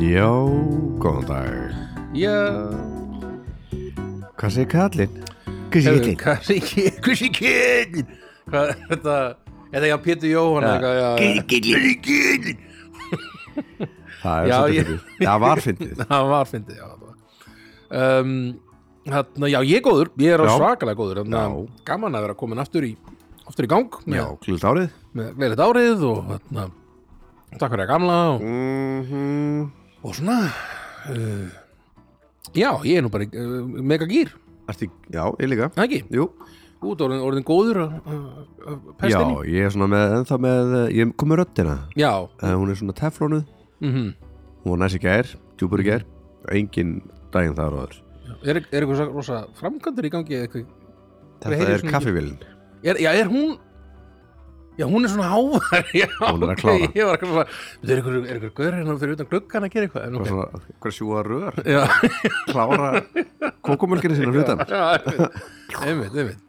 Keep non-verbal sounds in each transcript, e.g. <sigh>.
Já, góðan dag Já, Hvað segir kallinn? Hvað segir hefur, kallinn? hvað sé ég, hvað sé ég, hvað er þetta, eða já, Pétur Jóhann, Já. eitthvað, já, Kallinn, kallinn Það er Já, svolítið ég- fyrir Það var <laughs> fyndið það var fyndið, já, það var. Um, þarna, já, ég er góður, ég er Já. svakalega góður, þarna, Já. gaman að vera komin aftur í, aftur í gang, Já, með, glútt árið með gleðilegt árið og, þarna, takk fyrir að gamla og, Mhm. og svona, uh, já, ég er nú bara uh, mega gýr, Ertu, já, ég líka það ekki, Jú, út orðin, orðin góður að, að, að já, pestinni, ég er svona með, ennþá með, eh, ég kom með röddina já, Eh, Hún er svona teflónuð, mhm. hún var næs í gær, djúpur í gær Engin daginn þar áður Er, er eitthvað svo rosa framkvæmdur í gangi eða eitthvað? Þetta heyrir er svona- kaffivillin Er, já, er hún Já, hún er svona hávar já, Hún er að ok, klára. <laughs> Ég var eitthvað svona "Bíddu, Er eitthvað, er eitthvað gaur hérna fyrir utan gluggan að gera eitthvað en, Hvað okay. svona- hvað sjúga rör Já, <laughs> Klára kókumölkinu sinna hlutan já, einmitt, einmitt, einmitt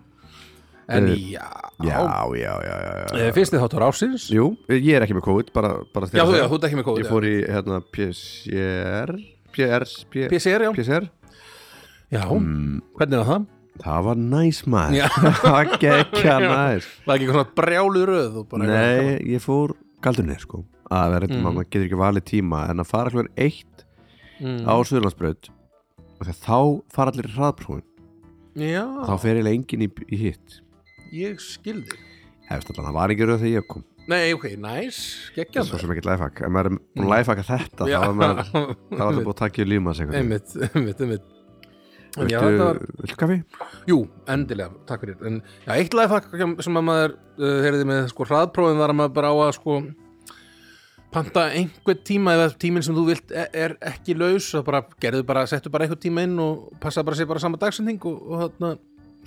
En Eh, <laughs> já, Já, já, já, já, já. Eh, Fyrsti þáttur ásins Já, Jú, ég er ekki með COVID bara, bara þú, þegar já, það- þú ert ekki með Ég COVID fór í hérna PCR PCR P- PCR, já, PCR já Hvernig var það? Það var næs maður Já. <laughs> Það <laughs> gekka næs Var ekki eitthvað svona brjálu röð og bara Nei, ég fór galdunni sko að vera, mm. maður getur ekki valið tíma en að fara hljóðan eitt mm, á Suðurlandsbraut og þegar þá fara allir í hraðprófin Já, þá fer eiginlega enginn í, í hitt ég skildi Efst allan, það var ekki rauð þegar ég kom Nei, ok, næs, geggjað Svo sem ekki læfak, ef maður er búin að læfaka þetta Já. þá er maður, <laughs> þá er allir búin að taka í líma sig einhvern veginn. einmitt, einmitt, einmitt En já, þetta var, Viltu, viltu kaffi? jú, endilega, takk fyrir en já, eitt lifehack sem að maður uh, heyrði með sko hraðprófin var að maður bara á að sko panta einhvern tíma ef tíminn sem þú vilt er, er ekki laus þá bara gerðu bara, settu bara einhvern tíma inn og passa bara sér bara sama dagsending og, og þarna,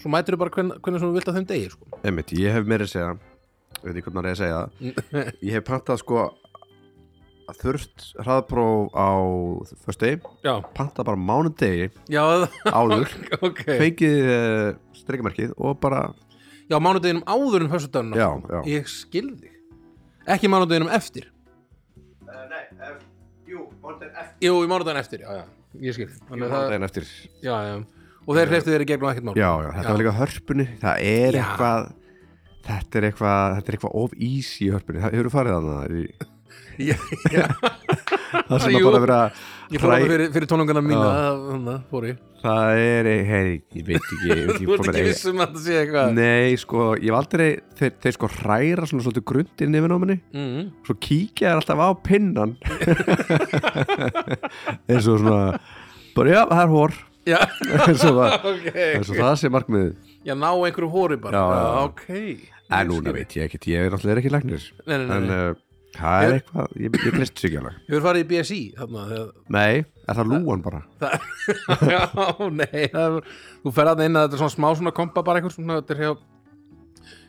svo mætirðu bara hven, hvernig sem þú vilt að þeim degi sko. Einmitt, ég hef meira að segja ég veit ekki hvernig maður er að <laughs> segja það. ég hef pantað sko að þurft hraðpróf á föstu, Já, pantað bara mánudegi já, <laughs> áður, ok fengið uh, streikamarkið og bara, Já, mánudeginum áður en föstudagunum Já, já. Ég skildi Ekki mánudeginum eftir uh, Nei, ef, jú, mánudegin eftir Jú, mánudegin eftir, já, já, ég skildi Þannig að það, daginn eftir já, já Og þeir hleyftu þeir í gegnum ekkert mál já, já, þetta var líka hörpunni það er Já. eitthvað þetta er eitthvað, þetta er eitthvað of easy í hörpunni, það hefur farið þannig <laughs> í, já, já. það sem Jú. að bara vera Ég fór alveg hræ- fyrir, fyrir tónungana mína Þannig að hérna, fór ég það er, hei, ég veit ekki ég veit <laughs> Þú ekki hvað ert maður ekki eigi- vissum að það sé eitthvað Nei, sko, ég hef aldrei þeir, þeir sko hræra svona svolítið grundinn yfir náminni mm. Svo kíkja þær alltaf á <laughs> pinnan <laughs> eins og svona bara já, það er hór Já, <laughs> eins og það, <laughs> ok eins og það sé markmið Já, ná einhverju hóri bara Já, já, já. ok Ég En núna skil. veit ég ekkert, ég er alltaf ekki læknir Nei, nei, nei, En nei. uh, það er Hefur- eitthvað, ég, ég glist sig ekki alveg Hefur farið í BSI þarna þegar Nei, er það lúan bara Það- <laughs> Já, nei það var, Þú ferð að inn að þetta er svona smá svona kompa bara einhver svona, þetta er hjá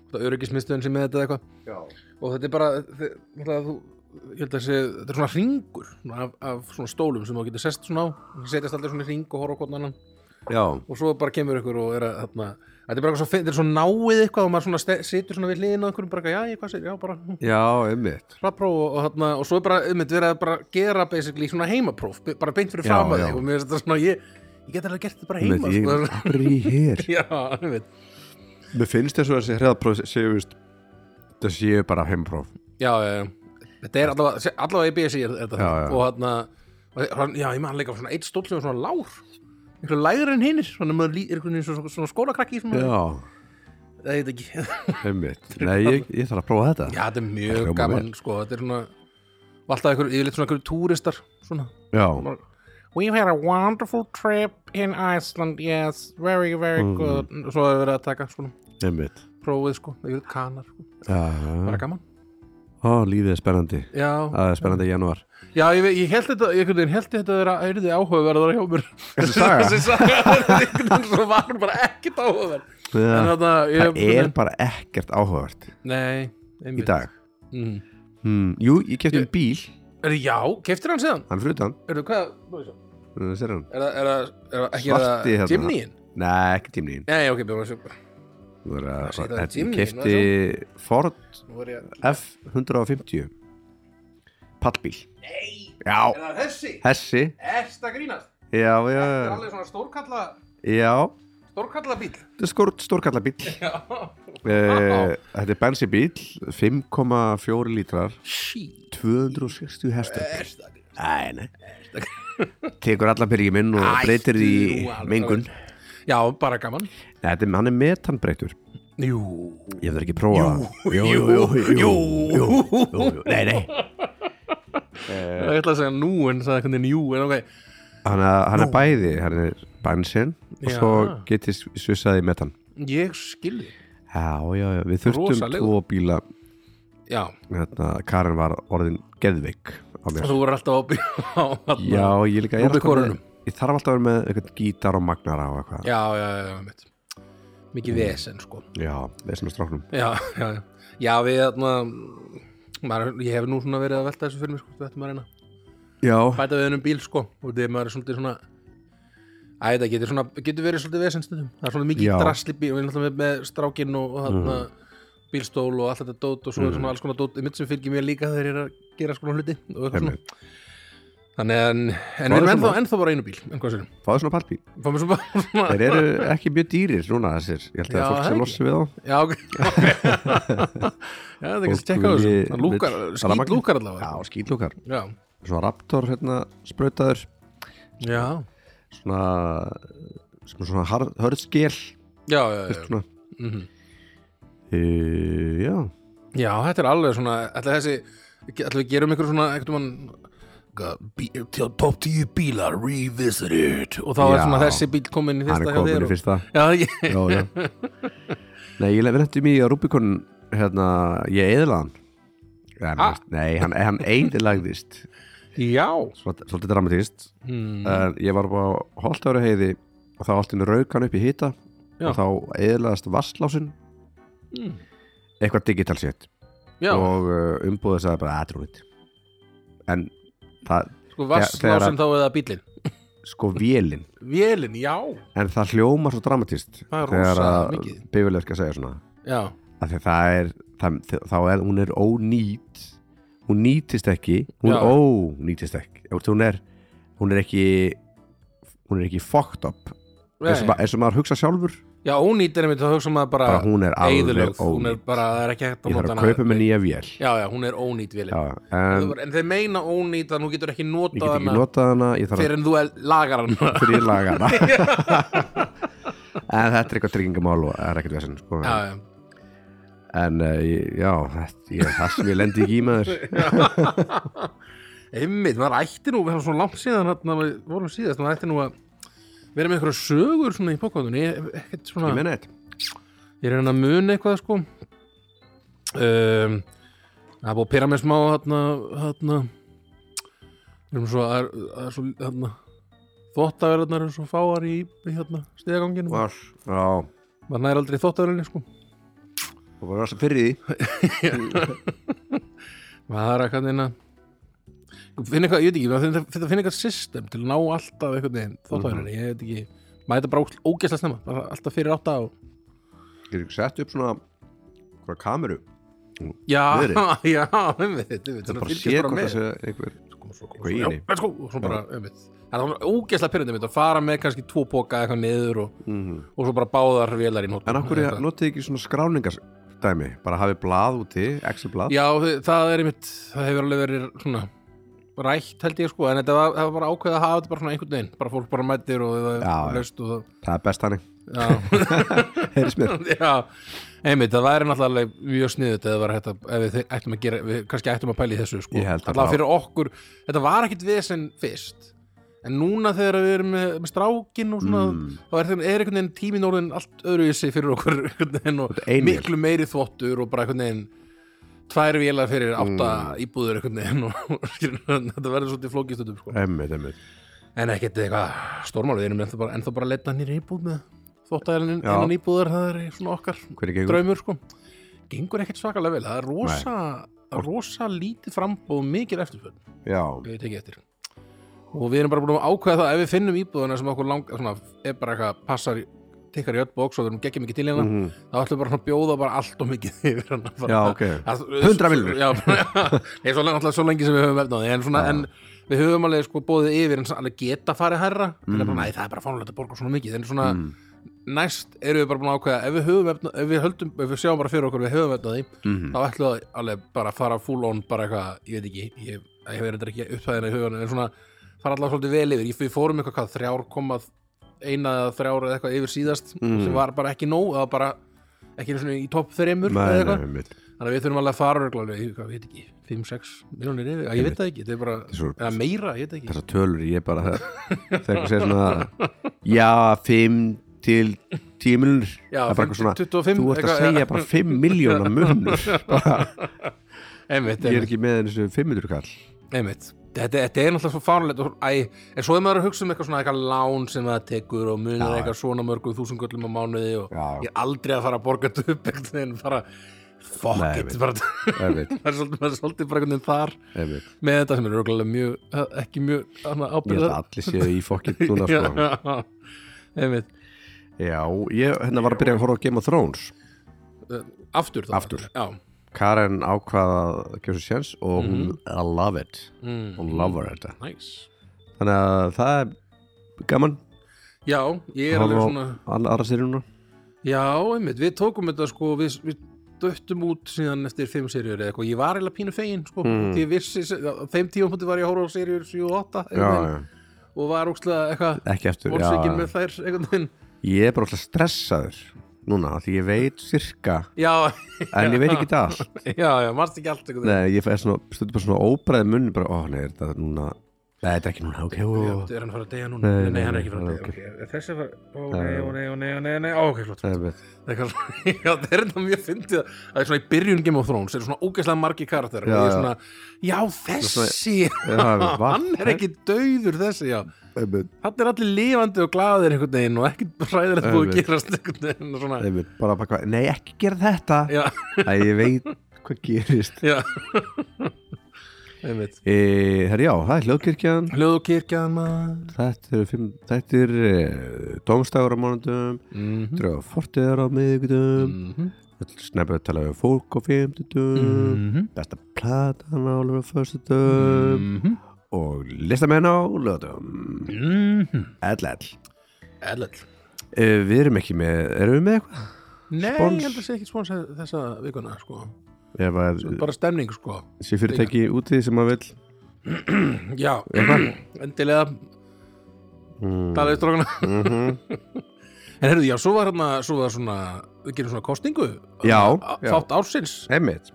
þetta öryggismistuðin sem er með þetta eða eitthvað Já, og þetta er bara, þi- ég held að þú ég held að sé, þetta er svona ringur svona af, af svona stólum sem þú getur sest svona á það setjast alltaf svona í ring og horfa á hvort annan já, og svo bara kemur ykkur og er að þarna, þetta er bara eitthvað svo, þetta er svo náið eitthvað og maður svona ste- situr svona við hliðin á einhverjum bara, eitthvað, já, ég hvað segir, já, bara hm, já einmitt hraðpróf og, og, þarna, og svo er bara ummynd verið að bara gera basically svona heimapróf be- bara beint fyrir Já, fram að já. þig og mér er þetta svona, ég, ég get alveg gert þetta bara Einmitt, heima ég sko. <laughs> er í hér Já, einmitt. Mér finnst þess að þessi hreðapróf séu, veist, það séu bara heimpróf já, já, já. Þetta er allavega, allavega í BSI er, er þetta Já, já. og hann að já, ég maður leika svona eitt stóll sem var svona lár einhverju lægri en hinnir svona, maður lí- er einhvern veginn svona, svona skólakrakki sem maður- Já, það heit ekki <laughs> já, Einmitt. Nei, ég, ég þarf að prófa þetta þetta er Það mjög hljómar gaman sko, þetta er svona og alltaf einhverju, yfirleitt svona einhverju túristar svona Já, We've had a wonderful trip in Iceland, yes, very, very Mm. good Svo hefur verið að taka svona einmitt prófið, sko, það eru kanar, sko, Já, bara já. gaman Ó, lífið er spennandi Já, Það er spennandi í janúar Já, ég, vei- ég held þetta, ég einhvern veginn held þetta að vera auðvitað áhugaverðar hjá mér Þessi saga? Þessi saga, <laughs> einhvern veginn svo var hún bara ekkert áhugaverð En Það þarna, ég er bara ekkert áhugavert Nei, einmitt í dag mm. hmm. Jú, ég kefti um bíl Er, já, keftir hann síðan? Hann fyrir utan Er það hvað? nú er ég sjá. uh, sérðu hann? Er það, er það, er það ekki Svarti er hérna. það Jimnyin? Nei, ekki tímnýn Nei, ok, bjóðum að sjá Það er Ég Jimny, kefti Ford Nú er ég F150 Pallbíl Já, Er það þessi? hessi Ersta grínast? Já, já, Það er já alveg svona stórkalla, Já, stórkalla bíl þetta er skór, stórkallabíl <laughs> Já Eh, Þetta er bensibíl 5,4 lítrar Sí 260 hestur Ersta grínast Æ, <laughs> nei Tekur allan byrjuminn og breytir því í Æ, þú alveg. mengun Já, bara gaman Nei, þetta er, hann er metanbreytur Jú Ég hef það ekki prófað það. jú, jú, jú. jú, jú, jú. Nei, nei Ég ætla að segja nú en sagði hvernig njú en ok Hann er, hann er bæði, hann er bensin og Já. svo getið svissaði metan Ég skilji Já, já, já, við þurftum Rosalegur. tvo bíla Já hérna, Karen var orðin geðveik á mér Þú voru alltaf á bíl á allan Já, ég líka er Rúbi alltaf með, kórunum. Ég þarf alltaf að vera með eitthvað gítar og magnara og eitthvað Já, já, já, já mitt. Mikið vesen sko Já, þessum að stráknum Já, já, já. Já, við þarna maður, ég hef nú svona verið að velta þessu fyrir mér sko, við ættum að reyna að Já, bæta við einum bíl sko og þegar maður er svolítið svona Æ, þetta getur, svona, getur verið svolítið vesen stundum það er svona mikið Já. Mm. drasli bíl, við erum alltaf með, með strákin og, og þarna bílstól og allt þetta dót og svo svona alls konar dót, mitt sem fylgir mér líka þegar ég er að gera skona hluti og eitthvað svona Einmitt. Þannig en, en við Fáðu erum svona- ennþá, ennþá bara á einu bíl, en hvað sérum? fáðu svona pallbíl Fáum við svo bara svona Þeir eru ekki mjög dýrir núna þessir Ég Já, held að fólk það sem er lossi við þá Já, ok, <laughs> okay. Já, það er ekki að Fólk tjekka á þessu vilji- Hann lúkar, vill- skýt rafmagn. lúkar allavega Já, skýtlúkar Já, Svo raptor hérna sprautaður já, Svona Svona, svona har- hörð skél já, já, já. Svona Mhm. uh, Já já þetta er alveg svona Ætla þessi, ætla við gerum ykkur svona Ekkert um hann Top 10 bílar revisited Og þá er Já. svona þessi bíl komin í Hann fyrsta er hjá komin þér í og- <laughs> fyrsta Já, ég, Já, já Nei, ég lef réttum í að Rubicon Hérna, ég eðla hann En, Ha? Nei, hann, hann eðilagðist já. Svol- Svolítið dramatist Hmm. en ég var bara á Holtáru heiði og þá allt inni rauk hann upp í hita Já. og þá eðlaðast vasslásin Mm. eitthvað digital shit já og uh, umbúðið sagði bara aðrúnit en það, Sko þegar vasslásinn að- þá eða bílinn sko vélin Vélinn, já en það hljómar svo dramatist Það er þegar rosa að mikið. bifurlega segja svona Já, af því að það er, það, þá er hún er ónýt hún nýtist ekki hún Já. ónýtist ekki Þú veist, hún er, hún er ekki hún er ekki fucked up eins Nei. og, ma- eins og maður hugsa sjálfur já ónýtt er einmitt Þá hugsa maður bara bara hún er alveg eyðilögð. Hún er ónýt bara, það er ekki hægt ég að þarf nota að kaupa mig hana nýja vél Já, já, hún er ónýtt vélinn já, en en þeir meina ónýt að nú getur ekki ég notað get ekki hana notað hana ég þarf fyrir en þú el- lagar hana að fyrir laga hana en <laughs> <laughs> þetta er eitthvað tryggingamál og það er ekkert vesinn sko. já, já. en uh, ég- já, þetta, ég, það sem ég lendi ekki í maður einmitt, maður ætti nú, við erum svo langt síðan þarna við vorum síðast, maður ætti nú að vera með einhverja sögur svona í bókváttunni ekkert svona, ég meina þetta ég er hérna að muna eitthvað sko um, það er búið að pyrra mér smá þarna, þarna við erum svo, að, að, svo þarna, þóttaverðarnar eru svo fáar í, í hérna, stíðaganginu var, já, maður nær aldrei þóttaverðinni sko og var það fyrir því maður þarf eitthvað neina finna eitthvað, ég veit ekki, maður þarf að finna eitthvað system til að ná alltaf eitthvað neginn þóttvæðinni, ég veit ekki, maður þetta bara ógeðslega snemma, bara alltaf fyrir átta og... ég er ekki sett upp svona hvað kameru já, Niðri. <laughs> já, einmitt einmitt, það svona bara fylgjast sé hvort með. það sé einhver Sko, svo- svo- eitthvað í já, henni. let's go, og svo bara, einmitt það er svona ógeðslega pyrrandi mitt að fara með kannski tvo póka eitthvað niður og, Mhm. og svo bara báðar vélar í nótum en akkur ég notið ekki svona skráningar dæmi, bara hafið blað úti Excel blað, já, þi- það er einmitt, það hefur alveg verið svona rætt held ég sko en þetta var, það var bara ákveðið að hafa þetta bara svona einhvern veginn bara fólk bara mættir og Já, það já. löst og <laughs> það það er best hannig Já, heyrðis mér <laughs> já, einmitt, það væri náttúrulega alveg mjög sniðut eða var hægt að, ef við ættum að gera, við kannski ættum að pæla í þessu, sko. Ég held að Allavega það- fyrir okkur, þetta var ekkit vesen fyrst, en núna þegar við erum með, með strákin og svona, Mm. þá er, þeim- er einhvern veginn tíminn orðin allt öðruvísi fyrir okkur, <laughs> einhvern veginn, og er ein vél. miklu meiri þvottur og bara einhvern veginn, tvær vélar fyrir átta Mm. íbúður einhvern veginn <laughs> og, og skilur, þetta verður svolítið flókistöndum, sko. Einmitt, einmitt. En ekkert eitthvað stórmál, við erum ennþá bara, ennþá bara að leta hann í íbúð með þóttæðan Já. innan íbúðar, það er svona okkar Hver er gengur? draumur sko. Gengur ekkert svakalega vel, það er rosa rosa lítið frambóð og mikil eftirspöld já, við tekið eftir og við erum bara búin að ákveða það ef við finnum íbúðuna sem okkur lang svona, er bara eitthvað passar í- tikkar í öll bóks og við erum geggjum mikið til hérna Mhm. þá ætlum við bara að bjóða bara allt og mikið <laughs> yfir hann já, ok Hundra milljónir. já, <laughs> ég er svo lengi, alltaf svo lengi sem við höfum efnaði en, svona, Já. en við höfum alveg sko bóðið yfir en alveg geta farið hærra mm. Mhm. bara, nei, það er bara fánulegt að borga svona mikið en svona Mm. næst erum við bara búin að ákveða ef við höfum efnaði, ef við höldum, ef við sjáum bara fyrir okkur við höfum efnaði, Mhm. þá ætlum við alveg bara að fara full on bara eitthvað, ég veit ekki ég, ég hef verið ekki upphæðina í huganum en svona fara allavega svolítið vel yfir, Ég- við fórum eitthvað hvað, þrjár koma eina eða þrjár eða eitthvað yfir síðast Mm. sem var bara ekki nóg, eða bara ekki einu sinni í topp þreymur Nei, eða nei, eitthvað einmitt. þannig að við þurfum alveg að fara reglulega í, hvað, ég veit ekki, 5-6 miljónir yfir, að ég veit það ekki, þetta er bara Svo- eða meira, ég veit ekki, þessar tölur ég bara þegar eitthvað segir svona já, 5 til 10 miljonur Já, það er bara 5 eitthvað svona, til 25, þú ert að eitthvað, já. segja bara 5 miljónar munur <laughs> bara, einmitt, ég er einmitt, ekki með þessu 500 kall einmitt. Þetta, þetta er náttúrulega svo fárlegt og, æ, en svo er maður að hugsa um eitthvað svona eitthvað lán sem það tekur og munir Já. eitthvað svona mörgum þúsungullum á mánuði og Já. ég er aldrei að fara að borga þetta upp einhvern veginn bara, fuck Nei, it einmitt. bara, <laughs> einmitt, maður er svolítið, maður er svolítið bara einhvern veginn þar einmitt. með þetta sem er örgulega mjög ekki mjög hana, ég held ábyrða að allir séu í <laughs> fokkitt núna sko. einmitt, já, ég hérna var að byrja að horfa á Game of Thrones aftur þá Aftur. já, Karen ákvað að gefa sér sjens og hún Mhm. I love it mm, hún lover þetta nice þannig að það er gaman Já, ég er alveg svona alla aðra sér núna Já, einmitt, við tókum þetta sko við, við döttum út síðan eftir fimm seríur eða eitthvað, ég var eiginlega pínu fegin sko, Mm. því ég vissi, á þeim tímapunkti var ég að horfa á seríur 7 og 8 já, einhvern já. veginn, og var ókslega eitthvað ekki eftir já, orðsökin já. með þær einhvern veginn Ég er bara alltaf stressaður núna af því ég veit sirka Já, <laughs> en ég veit ekki þetta allt já, já, marst ekki allt einhvern veginn Nei, ég fæ svona, stundur bara svona óbræði munni bara, ó nei, er þetta er núna Nei, þetta er ekki núna, ok, ó, Já, ó Er hann að fara að deyja núna? Nei, Nei, nei, hann er nei, ekki að fara að ok. deyja okay. Þessi er að fara, ó nei, ó nei, ó nei, ó nei, ó nei, ó, nei. Ó, ok, flott, flott. Það er veit. Eitthvað <laughs> svona- Já, það er þetta mjög fyndið að það er svona í byrjun Game of Thrones eru svona ógeðslega margi karakter og ég Já, er já. svona, já þessi Já, var- <laughs> hann er ekki dauður þessi já. Einmitt, hann er allir lifandi og glaðir einhvern veginn og ekki ræðilegt búið að Einmitt. gerast einhvern veginn og svona einmitt, bara bara hvað, nei, ekki gera þetta já, Æ, ég veit hvað gerist já <laughs> einmitt e, Herri, já, það er hljóðkirkjan hljóð og kirkjan maður Þetta eru fimm, þetta er e, Dómstagur á mánundum Mhm. Dröðu fortiðar á miðvikudum Mhm. Snæpið að tala við fólk á fimmtudum Mhm. Besta platan á alveg föstudum Mhm. og listamenn á lögatum Mhm. ell, ell Ellell. uh, Við erum ekki með, erum við með eitthvað? Nei, Spons. ég held að sé ekki spons þessa vikuna sko. Ef að eh, bara stemning sko. sé fyrirtæki úti sem að vill já, eitthvað <clears throat> endilega mm, talaði strókana mm En heyrðu, já, svo var hérna, svo var svona, við gerum svona kostingu Já, Á- já. Þátt ársins <laughs> Einmitt,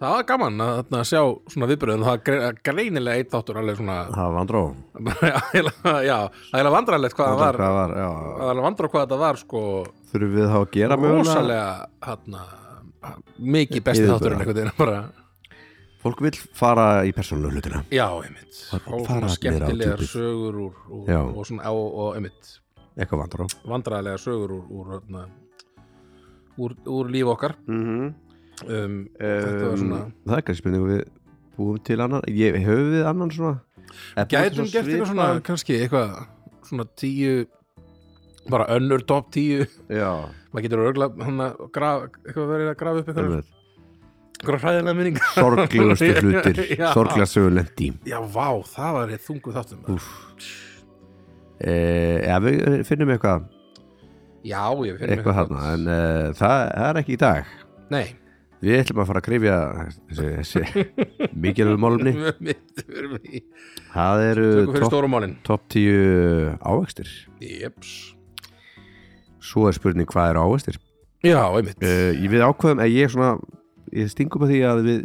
Það var gaman að þarna sjá svona viðbröðum Það var gre- greinilega eitt þáttur alveg svona <laughs> það var andró bara, eiginlega- Já, það er vandrarlegt hvað það var Hvað var, Það já er vandra hvað þetta var sko Þurfum við þá að gera mögulega Rósalega, hérna Mikið besti Yfirbrögð. þátturinn einhvern veginn bara Fólk vill fara í persónulega hlutina Já, einmitt Það er Og bara svona að gera á skemmtilegar djúpið. sögur úr, úr Já. Og svona, og, og einmitt Eitthvað vandró Vandræðilegar sögur úr, úr, hérna, úr, úr líf okkar mm -hmm. um, Þetta var svona um, Það er kannski spurning við búum til annan ég, Höfum við annan svona Er búin til Gætum gert eitthvað svona, svipað? kannski eitthvað svona tíu bara önnur topp tíu Já, maður getur örgla hann að grafa eitthvað verið að grafa upp eitthvað, einmitt eitthvað hræðilega <laughs> minninga <laughs> Sorglegustu hlutir Já. Sorglega sögulegt í Já, vá, það var eitt þungu þáttum Úff. Eh, Ef við finnum eitthvað Já, ég finnum eitthvað þarna en uh, það er ekki í dag <laughs> Nei, við ætlum að fara að krifja þessi, <laughs> þessi mikilvæg málumni mitt erum við það eru Tökum fyrir topp stórumálin top 10 ávegstir Jeps svo er spurning hvað eru ávegstir Já, einmitt uh, við ákveðum að ég svona ég stingum að því að við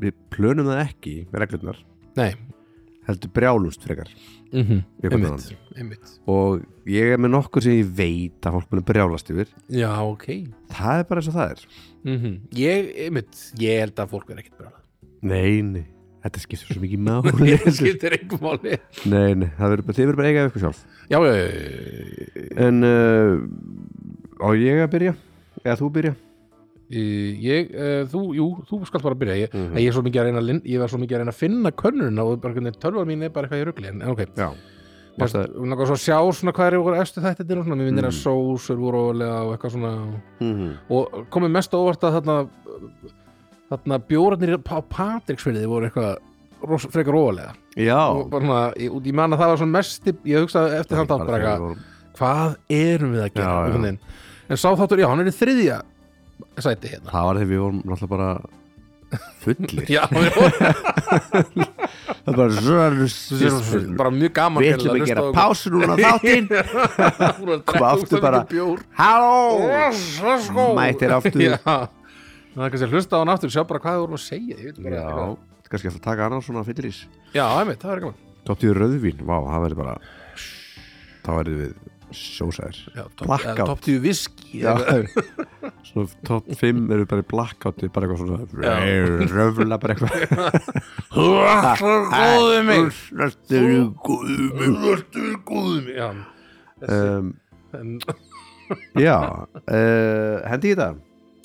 við plönum það ekki með reglurnar Nei, heldur brjálumst frekar mm Ég kom einmitt, einmitt og ég er með nokkur sem ég veit að fólk muni brjálast yfir Já, ok það er bara eins og það er mm Ég, einmitt, ég held að fólk er ekkert bara Nei, nei, þetta skiptir svo mikið <laughs> <laughs> máli Skiptir einhver máli Nei, nei, það verður bara, þið verður bara að eiga ykkur sjálf Já, já, já, já, já eh, En uh, á ég að byrja? Eða þú byrja? Í- ég, uh, þú, jú, þú skalt bara byrja ég, Mhm. mm ég er svo mikið að reyna að lin- ég var svo mikið að reyna að finna könnuna og bara hvernig tölva mín er bara eitthvað í rugli en en ok, Já, Mér finnst- Varstu- mig langar svo að sjá svona hvað er voru efstu þetta og svona, mér finnir að sósur voru ólega og eitthvað svona mm -hmm. og komið mest á óvart að þarna þarna bjórarnir á Patricksfyrði voru eitthvað ros, frekar ólega já. og bara svona, ég, út- ég man að það var svona mest ég hugsaði eftir þann Bara þátt bara þegar við eitthvað vorum- hvað erum við að gera Já, já. einhvern veginn. en sá þáttur, já, hann er í þriðja sæti hérna <laughs> Það var þegar við vorum náttúrulega bara fullir Já, við vorum- Það var við erum bara bara mjög gaman Við ætlum að gera pásu núna á <laughs> þáttinn Kom aftur bara, Halló Mætir aftur. Já Það er kannski að hlusta á hann aftur Sjá bara hvað við vorum að segja Ég veit bara Já, kannski eftir að taka annars svona fyllirís Já, einmitt, það er gaman Top 10 rauðvín, vá, það verður bara Það verður við sjósæðir Já, topp- Blackout. eða Topp 10 viski Já, <laughs> <laughs> svona top 5 eru bara í blackouti, bara eitthvað svona röfla bara eitthvað Röstur <laughs> góðu mig Röstur góðu mig Röstur góðu mig Já um, en, Já, uh, hendi í þetta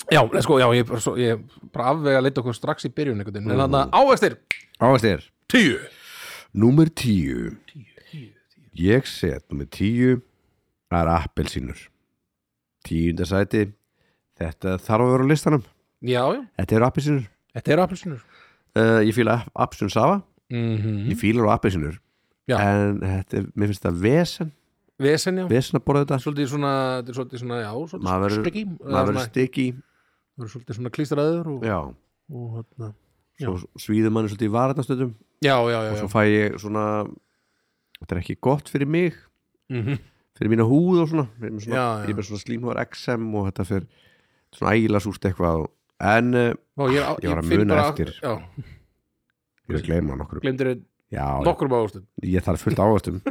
Já, eh, sko, já, ég, bara svo, ég bara afvega að leita okkur strax í byrjun einhvern veginn En þannig að ávextir Ávastir, Tíu númer 10 Ég set númer 10 Það er appelsínur Tíunda sæti Þetta þarf að vera á listanum Já, já, Þetta eru appelsínur þetta eru appelsinur uh, Ég fíla app- appelsínu safa mm Ég fíla á appelsínur Já. En þetta, er- mér finnst það vesen Vesen, já Vesen að borða þetta Svolítið svona, þetta er svolítið svona, já, svolítið Maður verður- sticky, eða maður svona- verður stikki Það eru svolítið svona klístraður og, já, og hérna svo svíður manni svolítið í varatnastöndum Já, já, já, og já. svo fæ ég svona þetta er ekki gott fyrir mig Mm -hmm. fyrir mína húð og svona, fyrir mér svona Já, já. ég er með svona slímhóðar XM og þetta fyrir svona ægilega súrt eitthvað og- en uh, Ó, ég, er á- Ég var að finn muna bara- eftir. Já, ég vil gleyma nokkru já, glemdur já, nokkrum águstum ég þarf fullt ávastum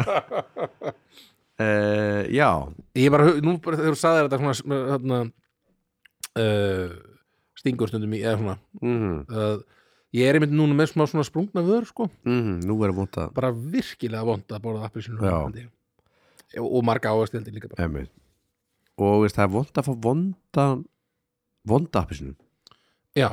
<laughs> uh, já, Ég bara, hu- nú bara þegar þú sagðir þetta svona sm- þarna uh, stingur stundum í, eða svona mhm, uh, Ég er einmitt núna með smá svona sprungna vör, sko mhm, nú er móta bara virkilega vond að borða appelsinu Já. og marga águstildi líka bara emið og veist, það er vond að fá vonda vonda appisinu Já,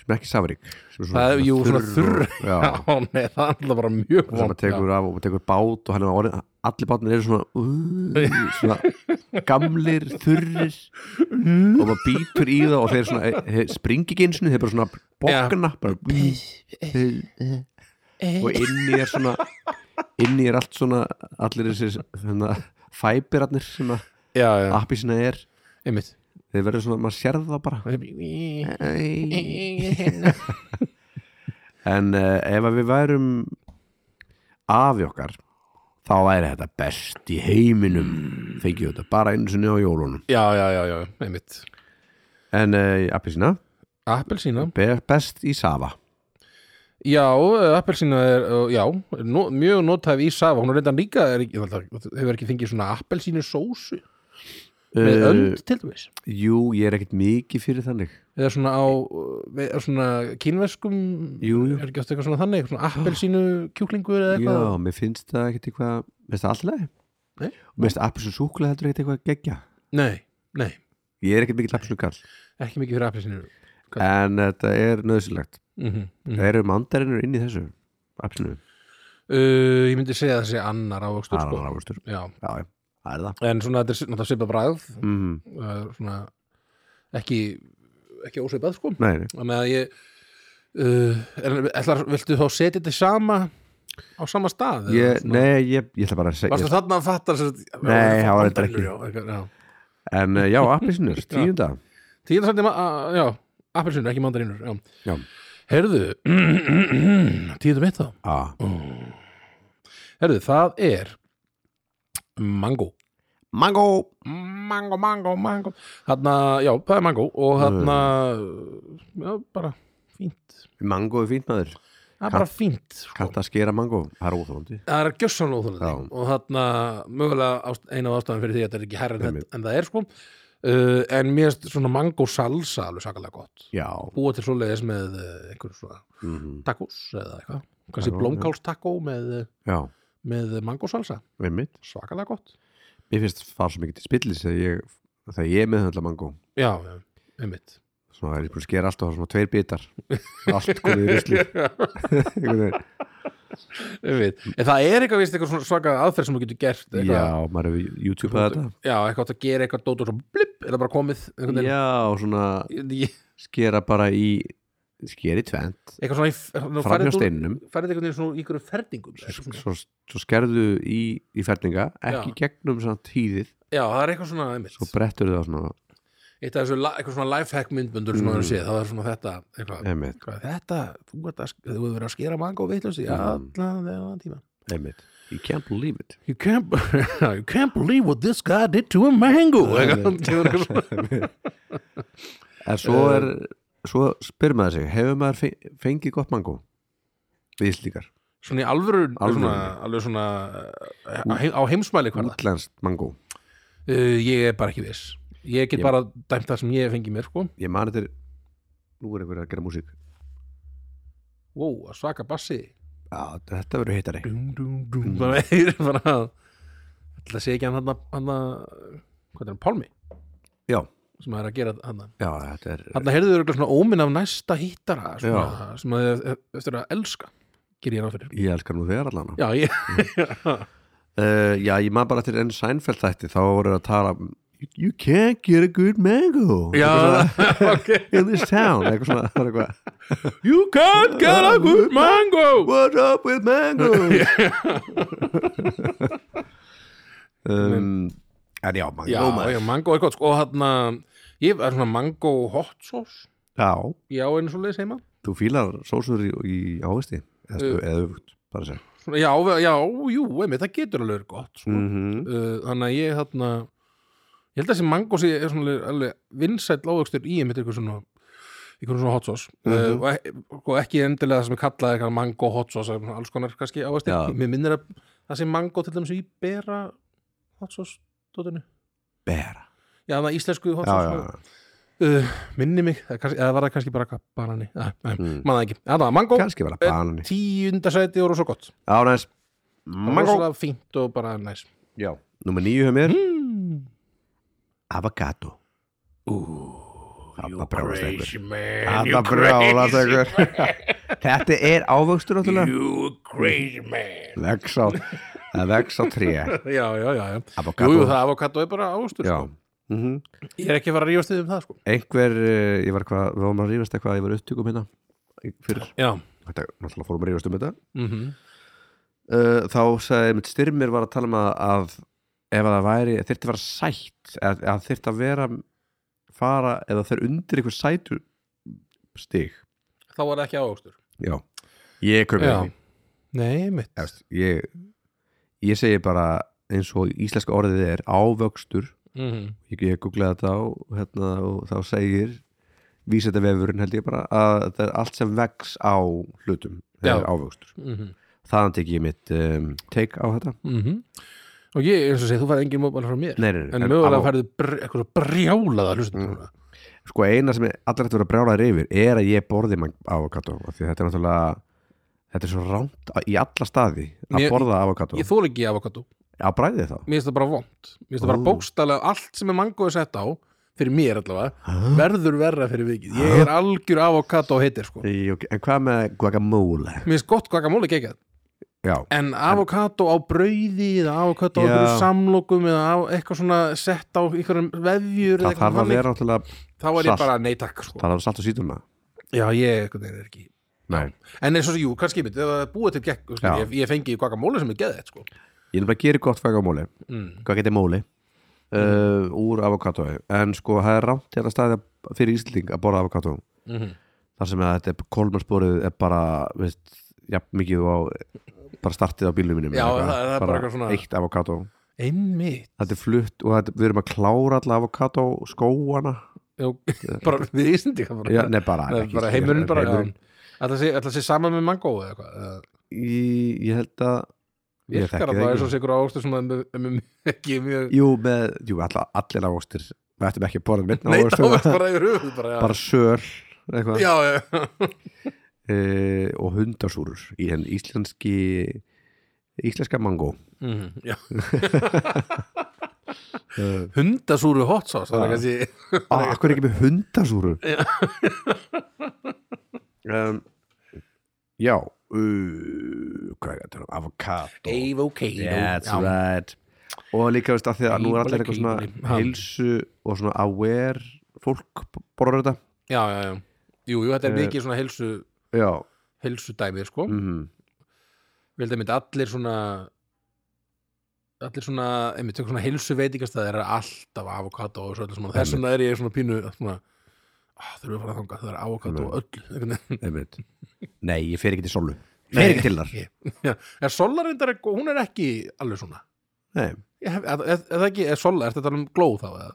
sem er ekki safarík sem er það er jú svona þurr og- já, <laughs> Já, nei, það er alltaf bara mjög og sem maður vond tekur af og maður tekur bát og hann er orðin, allir bátnir eru svona, uh, svona gamlir, þurrir og maður býtur í það og þeir svona eh, eh, springi ekki eins og þeir bara svona bókna bara, og inni er svona inni er allt svona allir þessi hérna, fæbirarnir sem að Já, já, appisina er einmitt <laughs> þeir verður svona, maður sér það bara en uh, ef að við værum afi okkar þá væri þetta best í heiminum fengið þetta bara einu sinni á jólunum Já, já, já, já, einmitt en uh, appisina, Appelsína, be best í Sava já, eh, appelsína er, eh, já, no, mjög notæf í safa, hún er reyndan líka, er, ekki- ég held að- hefur ekki fengið svona appelsínu sósu með önd til dæmis, Eh, jú, ég er ekkert mikið fyrir þannig eða svona á, eh, við- eða svona kínveskum, Jú, jú. er ekki oft eitthvað svona þannig, svona appelsínu kjúklingur eða já, eitthvað, mér finnst það ekkert eitthvað mér finnst það alltaf leið Nei. og mér finnst appisina súkulega heldur ekkert eitthvað geggja nei, nei, ég er ekkert mikið appisina kall ekki mikið fyrir appelsínu, en eh, þetta er nöðsilegt mm það eru mandarinnur inn í þessu appisinu, uh, ég myndi segja að það sé annar ávöxtur, það er sko, annar ávöxtur já, já, já, það er það en svona þetta er s- náttúrulega svipað bræð, mm. uh, svona ekki, ekki ósveipað, sko, Nei, nei. Þannig að ég uh, er, ætlar, Viltu þá setja þetta í sama á sama stað? eða Ég, svona? nei, ég, ég ætla bara að segja Varstu þarna að fatta sem, Nei, það var þetta Já, eitthvað, já. En uh, <laughs> já, appisnur, tíunda Tíðan sætti, ma- að- já, appelsinu, ekki mandarínur já. Já, Herðu <clears throat> Tíðum mitt þá ah, Herðu, það er Mango mango Mango, mango, mango Þarna, já, það er mango og þarna já, bara fínt Mango er fínt maður, Það er bara fínt sko. kannt að skera mango Það er óþólandi það er gjössanlega óþólandi Já. og þarna mögulega ást, eina af ástæðan fyrir því að þetta er ekki herra en, Einmitt. en það er sko uh, en mér erst svona mango salsa alveg sakalega gott Já, búa til svoleiðis með uh, einhverjum svona mm tacos eða eitthvað kannski Já, já. blómkálstaco með, uh, já, með mango salsa við mitt svakalega gott Mér finnst það fara svo mikið til spillis þegar ég, þegar ég meðhandla mango já, já, <laughs> einmitt svona er ég búin að skera allt og hafa svona tveir bitar allt komið í rusli <laughs> Einhvern veginn. einmitt, en það er eitthvað, víst, eitthvað svona svaka aðferð sem þú getur gert <laughs> já, eitthvað, maður hefur YouTube-að þetta já, eitthvað átt að gera eitthvað dót og svo blipp, er það bara komið einhvern veginn. já, og svona Ég- skera bara í skeri tvent, eitthvað svona, í- þú fram hjá færið úr- steinunum færið einhvern veginn svona í ykkur ferðingum eitthvað svona. svo, svo skerðu í, í ferninga ekki gegnum samt hýðið já, það er eitthvað svona, einmitt svo brettur það svona eitt af þessu, la- eitthvað svona lifehack myndbundur sem Mm. maður hefur séð, það er svona þetta eitthvað, einmitt, eitthvað, þetta, þú ert að, sk- þú hefur verið að skera mango vitlausi Mm. allan þegar tíma einmitt you can't believe it you can't, <laughs> you can't believe what this guy did to a mango Einmitt. Kemur eitthvað svona. en svo er svo spyr maður sig, hefur maður fe- fengið gott mango við Íslíkar, svona í alvöru, Alvöru. Svona, alveg svona eh, á, heim, á heimsmæli hvað það útlenskt mango ég er bara ekki viss ég get Ég- bara dæmt það sem ég hef fengið mér sko. ég man þetta er, nú er einhver að gera músík wow, að svaka bassi já, þetta verður hittari dum, dum, dum. bara <laughs> heyrir bara að ætla að sé ekki hann hann hann hvað er hann, Pálmi já, sem er að gera hann já, þetta er hann heyrðu þau svona óminn af næsta hittara svona, Já. sem að þið eftir að elska ger ég ráð fyrir ég elskar nú þegar allan já, ég, <laughs> uh, já, ég man bara til enn Seinfeld þætti þá voru að tala um, you can't get a good mango já <laughs> ok in this town eitthvað svona, það var eitthvað you can't get a good mango What's up with <laughs> mangoes um, En já, mango já, já, mango er gott sko, og hann ég er svona mango hot sauce já, já, eins og leiðis heima þú fílar sósur í, í ávisti eða Uh. öfugt, bara að segja svona, já, ve- já, jú, einmitt, það getur alveg verið gott sko. -hmm. uh, þannig að ég hann ég held að þessi mango sé er svona alveg- alveg vinsæll ávöxtur í einmitt eitthvað svona einhvern svona hot sauce Mhm. uh, og, e og ekki endilega það sem er kallað eitthvað mango hot sauce eða svona alls konar kannski ávöxtur Já. mér minnir að það sé mango til dæmis í bera hot sauce dótinu Bera já, það íslensku hot Já, sauce já, sko. já uh, minni mig, eða kannski- eða var það kannski bara eitthvað banani, Æ, nei, Mm. maður það ekki en það var mango, Kanski bara banani tíundasæti og svo gott Já, næs Mango rosalega fínt og bara næs Já, númer nýju hjá mér mm. Avocado Þarna brjálast einhver man Þarna brjálast <laughs> einhver Þetta er ávöxtur náttúrulega You crazy man Vex á, það vex á tré Já, já, já, já Jú, Avocado jú, það avokado er bara ávöxtur Já sko. Mhm. Ég er ekki að fara að rífast þið um það sko. einhver, eh, ég var hvað, við varum að rífast eitthvað, ég var upptökum hérna í- fyrir, Já þetta, náttúrulega fórum að rífast um þetta mm uh, þá sagði mitt styrmir var að tala um að, að ef að það væri, þyrfti að vera sætt að, að þyrfti að vera fara, eða þeir undir eitthvað sætu stig, Þá var það ekki ávöxtur já ég kaupið Já. ekki, Nei, mitt Þú veist, ég ég segi bara eins og íslenska orðið er ávöxtur mm ég, ég googlaði þetta og, hérna, og þá segir vísendavefurinn held ég bara að það er allt sem vex á hlutum það Já. er ávöxtur, Mhm. þaðan tek ég mitt um, take á þetta Og ég, Mhm. eins og segi, þú færði engin móbæl frá mér nei, nei, nei, En mögulega á- færðu br- eitthvað svo brjálaða hlustum Mm. sko eina sem er allir hægt að vera brjálaður yfir er að ég borði mann avokado af því þetta er náttúrulega þetta er svo rámt á- í alla staði að Mér- borða avokado Ég þóla ekki avokado að bræði þá Mér finnst það bara vond Mér finnst það bara Ó. bókstælega allt sem er mangoði sett á Fyrir mér allavega Ha? Verður verra fyrir vikið Ég er algjör avokado heitir sko Í, ok, en hvað með guacamole Mér finnst gott guacamole geggjað já, En avokado á brauði eða avokado á Já. einhverjum samlokum eða á, eitthvað svona sett á einhverjum vefjur eða það eitthvað þarf að þannig, vera náttúrulega Þá er ég salt. bara neytak sko. það þarf salt og sítuna Já, ég einhvern veginn er ekki nei En eins og jú, kannski mitt, ef það er búið til gegn þú veist, Já. ég, ég fengi guacamole sem er geðið sko. Ég er bara að gera gott guacamole mm. hvað getið móli uh, úr avokadói en sko það er rámt hérna staði að- fyrir Ísling að borða avokadó Mm þar sem að þetta kolmarsporið er bara veist, jafn mikið og á bara startið á bílum mínum Já, eða það- það er bara eitthvað svona- eitt avokadó Einmitt þetta er flutt og þetta, við erum að klára alla avokadó skóana Já, <laughs> bara við ísindi bara, Já, nei bara, Nei, ekki bara Íslendingar, heimurinn bara heimurinn. Ætla sé, ætla sé saman með mango eða eitthvað eða Í, ég held að Ég þekki Virkar það að það ekki. er svo sigur ávöxtur sem að er með- með- ekki mjög jú, með, jú alla, allir ávostir við ættum ekki að borða neitt Nei, þá er ávostir bara yfir höfuð bara, já. bara söl eitthvað Já, já, já uh, og hundasúrur í henn <laughs> Mhm, íslenski íslenska mango Mhm, já hundasúru hot sauce það er Já. kannski ah, Akkur er ekki með hundasúru <laughs> um, Já uh, Hvað er þetta? Avocado Avocado That's Já. right Og líka veist að því að nú er allir Evil, eitthvað svona evil. heilsu og svona aware fólk borður þetta já, já, já Jú, jú, þetta er Eh. mikið svona heilsu, Já, heilsu dæmið, sko mm Við heldum að allir svona allir svona, einmitt, svona heilsu veitingastæði er alltaf avokado og svo öllu svona þess vegna er ég svona pínu svona, ah, þurfum við að fara að þanga, það er avokado og öll einhvern veginn. <laughs> einmitt Nei, ég fer ekki til solu Fer ekki til þar Já, er Sola reyndar, er gó- hún er ekki alveg svona Nei, Ég hef- er er- er það ekki, er Sola, er þetta um glóð þá eða?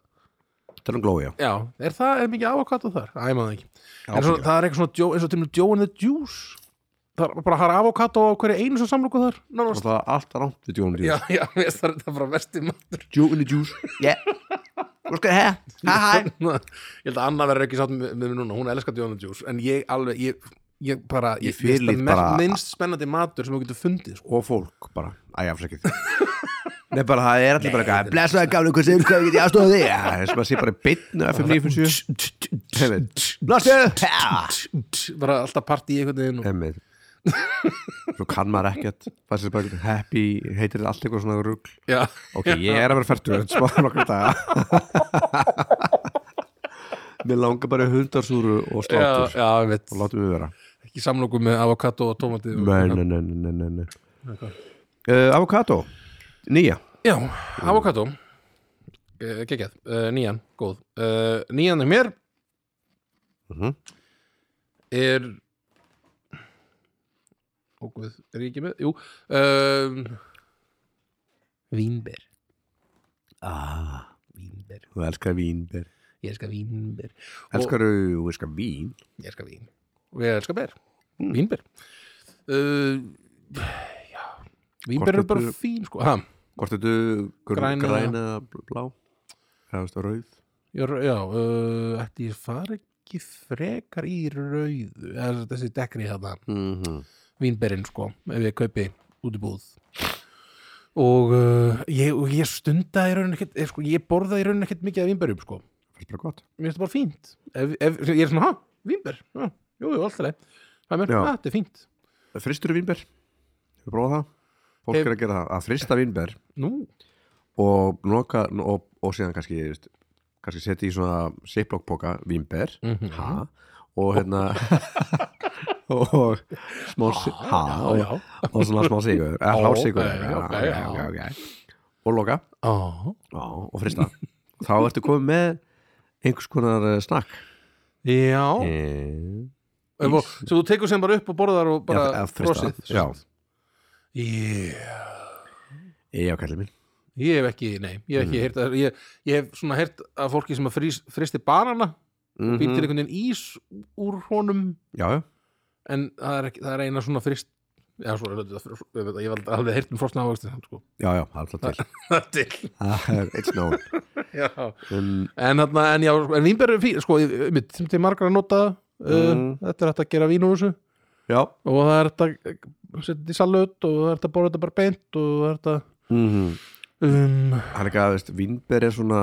tala um glói, já Já, er það, er mikið avokado þar? Æ, maður það ekki En svo, Ábyggilega. það er eitthvað svona, djó, eins og til með Joe and the Juice Það er bara það er avokado á hverju einu sem samlóku þar Og Nánast það er allt rámt við djónum Já, já, mér finnst það er þetta bara versti matur Djó in the <laughs> juice Yeah Hvað skal það? Hæ hæ Ég held að Anna verður ekki sátt með, með mér núna, hún elskar Joe and the Juice En ég alveg, ég, ég bara Ég mér finnst fyrirlít það bara- mest- minnst spennandi matur sem þú getur fundið sko. Og fólk bara Æja, afsakið <laughs> Nei, bara það er allir bara eitthvað Blessaði gamlu, hvað segir hvað get ég aðstofa þig? Já, þess að maður sé bara beinn FM 957 Heimið Blessaði Bara alltaf partí í einhvern veginn og- Heimið Svo kann maður ekkert Það sé bara eitthvað happy Heitir þetta allt eitthvað svona rugl Já, Ok, ég er að vera færtur Þetta spáði nokkur <laughs> daga Mér langar bara í hundarsúru og já, slátur já, ég veit Og látum við vera Ekki samlóku með avokado og tómati og- Nei, nei, nei, nei, nei, nei. Uh, Avocado Nýja Já, avokado uh, Kekjað, uh, nýjan, góð uh, Nýjan er mér Mhm. Er Óguð, er ég ekki með? Jú um, Vínber ah, Vínber, Þú elskar vínber ég elska vínber Elskaru, þú elskar vín og, Ég elska vín Mm. Og ég elska ber, vínber uh, Já Vínber Hvort er bara þetta- fín sko ha, Hvort þetta Græna. græna, græna bl- blá Það veist að rauð Já, r- já uh, ætti ég fara ekki frekar í rauðu eða þessi dekri hérna mm -hmm. vínberinn sko, ef ég kaupi út í búð og, uh, ég, og ég stunda í raunin ekkert, eh, sko, ég borða í raunin ekkert mikið af vínberjum sko, Fyrst bara gott mér finnst það bara fínt ef, ef, ég er svona, ha, vínber já, jú, jú, alltaf leið, það er mér, Já. að þetta er fínt Fristur vínber Hefur prófað það? Fólk Hef- er að gera það Að frista vínber nú, Og noka Og, og síðan kannski þú veist, Kannski setja í svona Siplokkpoka vínber Mhm. Ha Og <laughs> hérna Og smá si- Ha og- já, já og svona smá sigur eða Ó, hlásigur ok, ok, já. og loka Á, já, og frista þá ertu komið með einhvers konar eh, snakk já, Eh, Ef og- sem þú tekur sem bara upp og borðar og Já, bara eða frista. frosið Já. yeah. já, kallið minn Ég hef ekki, nei, ég hef ekki heyrt að, ég, ég hef svona heyrt að fólki sem að frís, fristi banana mm býr til einhvern veginn ís úr honum já, já, en það er, ekki, það er eina svona frist já, svo, ég, veit, ég, veit, ég hef aldrei heyrt um frosna ávöxtin sko. <laughs> já, já, það er alltaf til Það er til það er eitt snón já. um, en, þarna, en, já, sko, en vínber er fín sko, ég- mitt, sem til margra nota uh, Mm. þetta er hægt að gera vín úr þessu já, og það er hægt að eh, setja þetta í salut og það er hægt að borða þetta bara beint og það er hægt að mm mhm. um, hann er ekki að, veist, vinnber er svona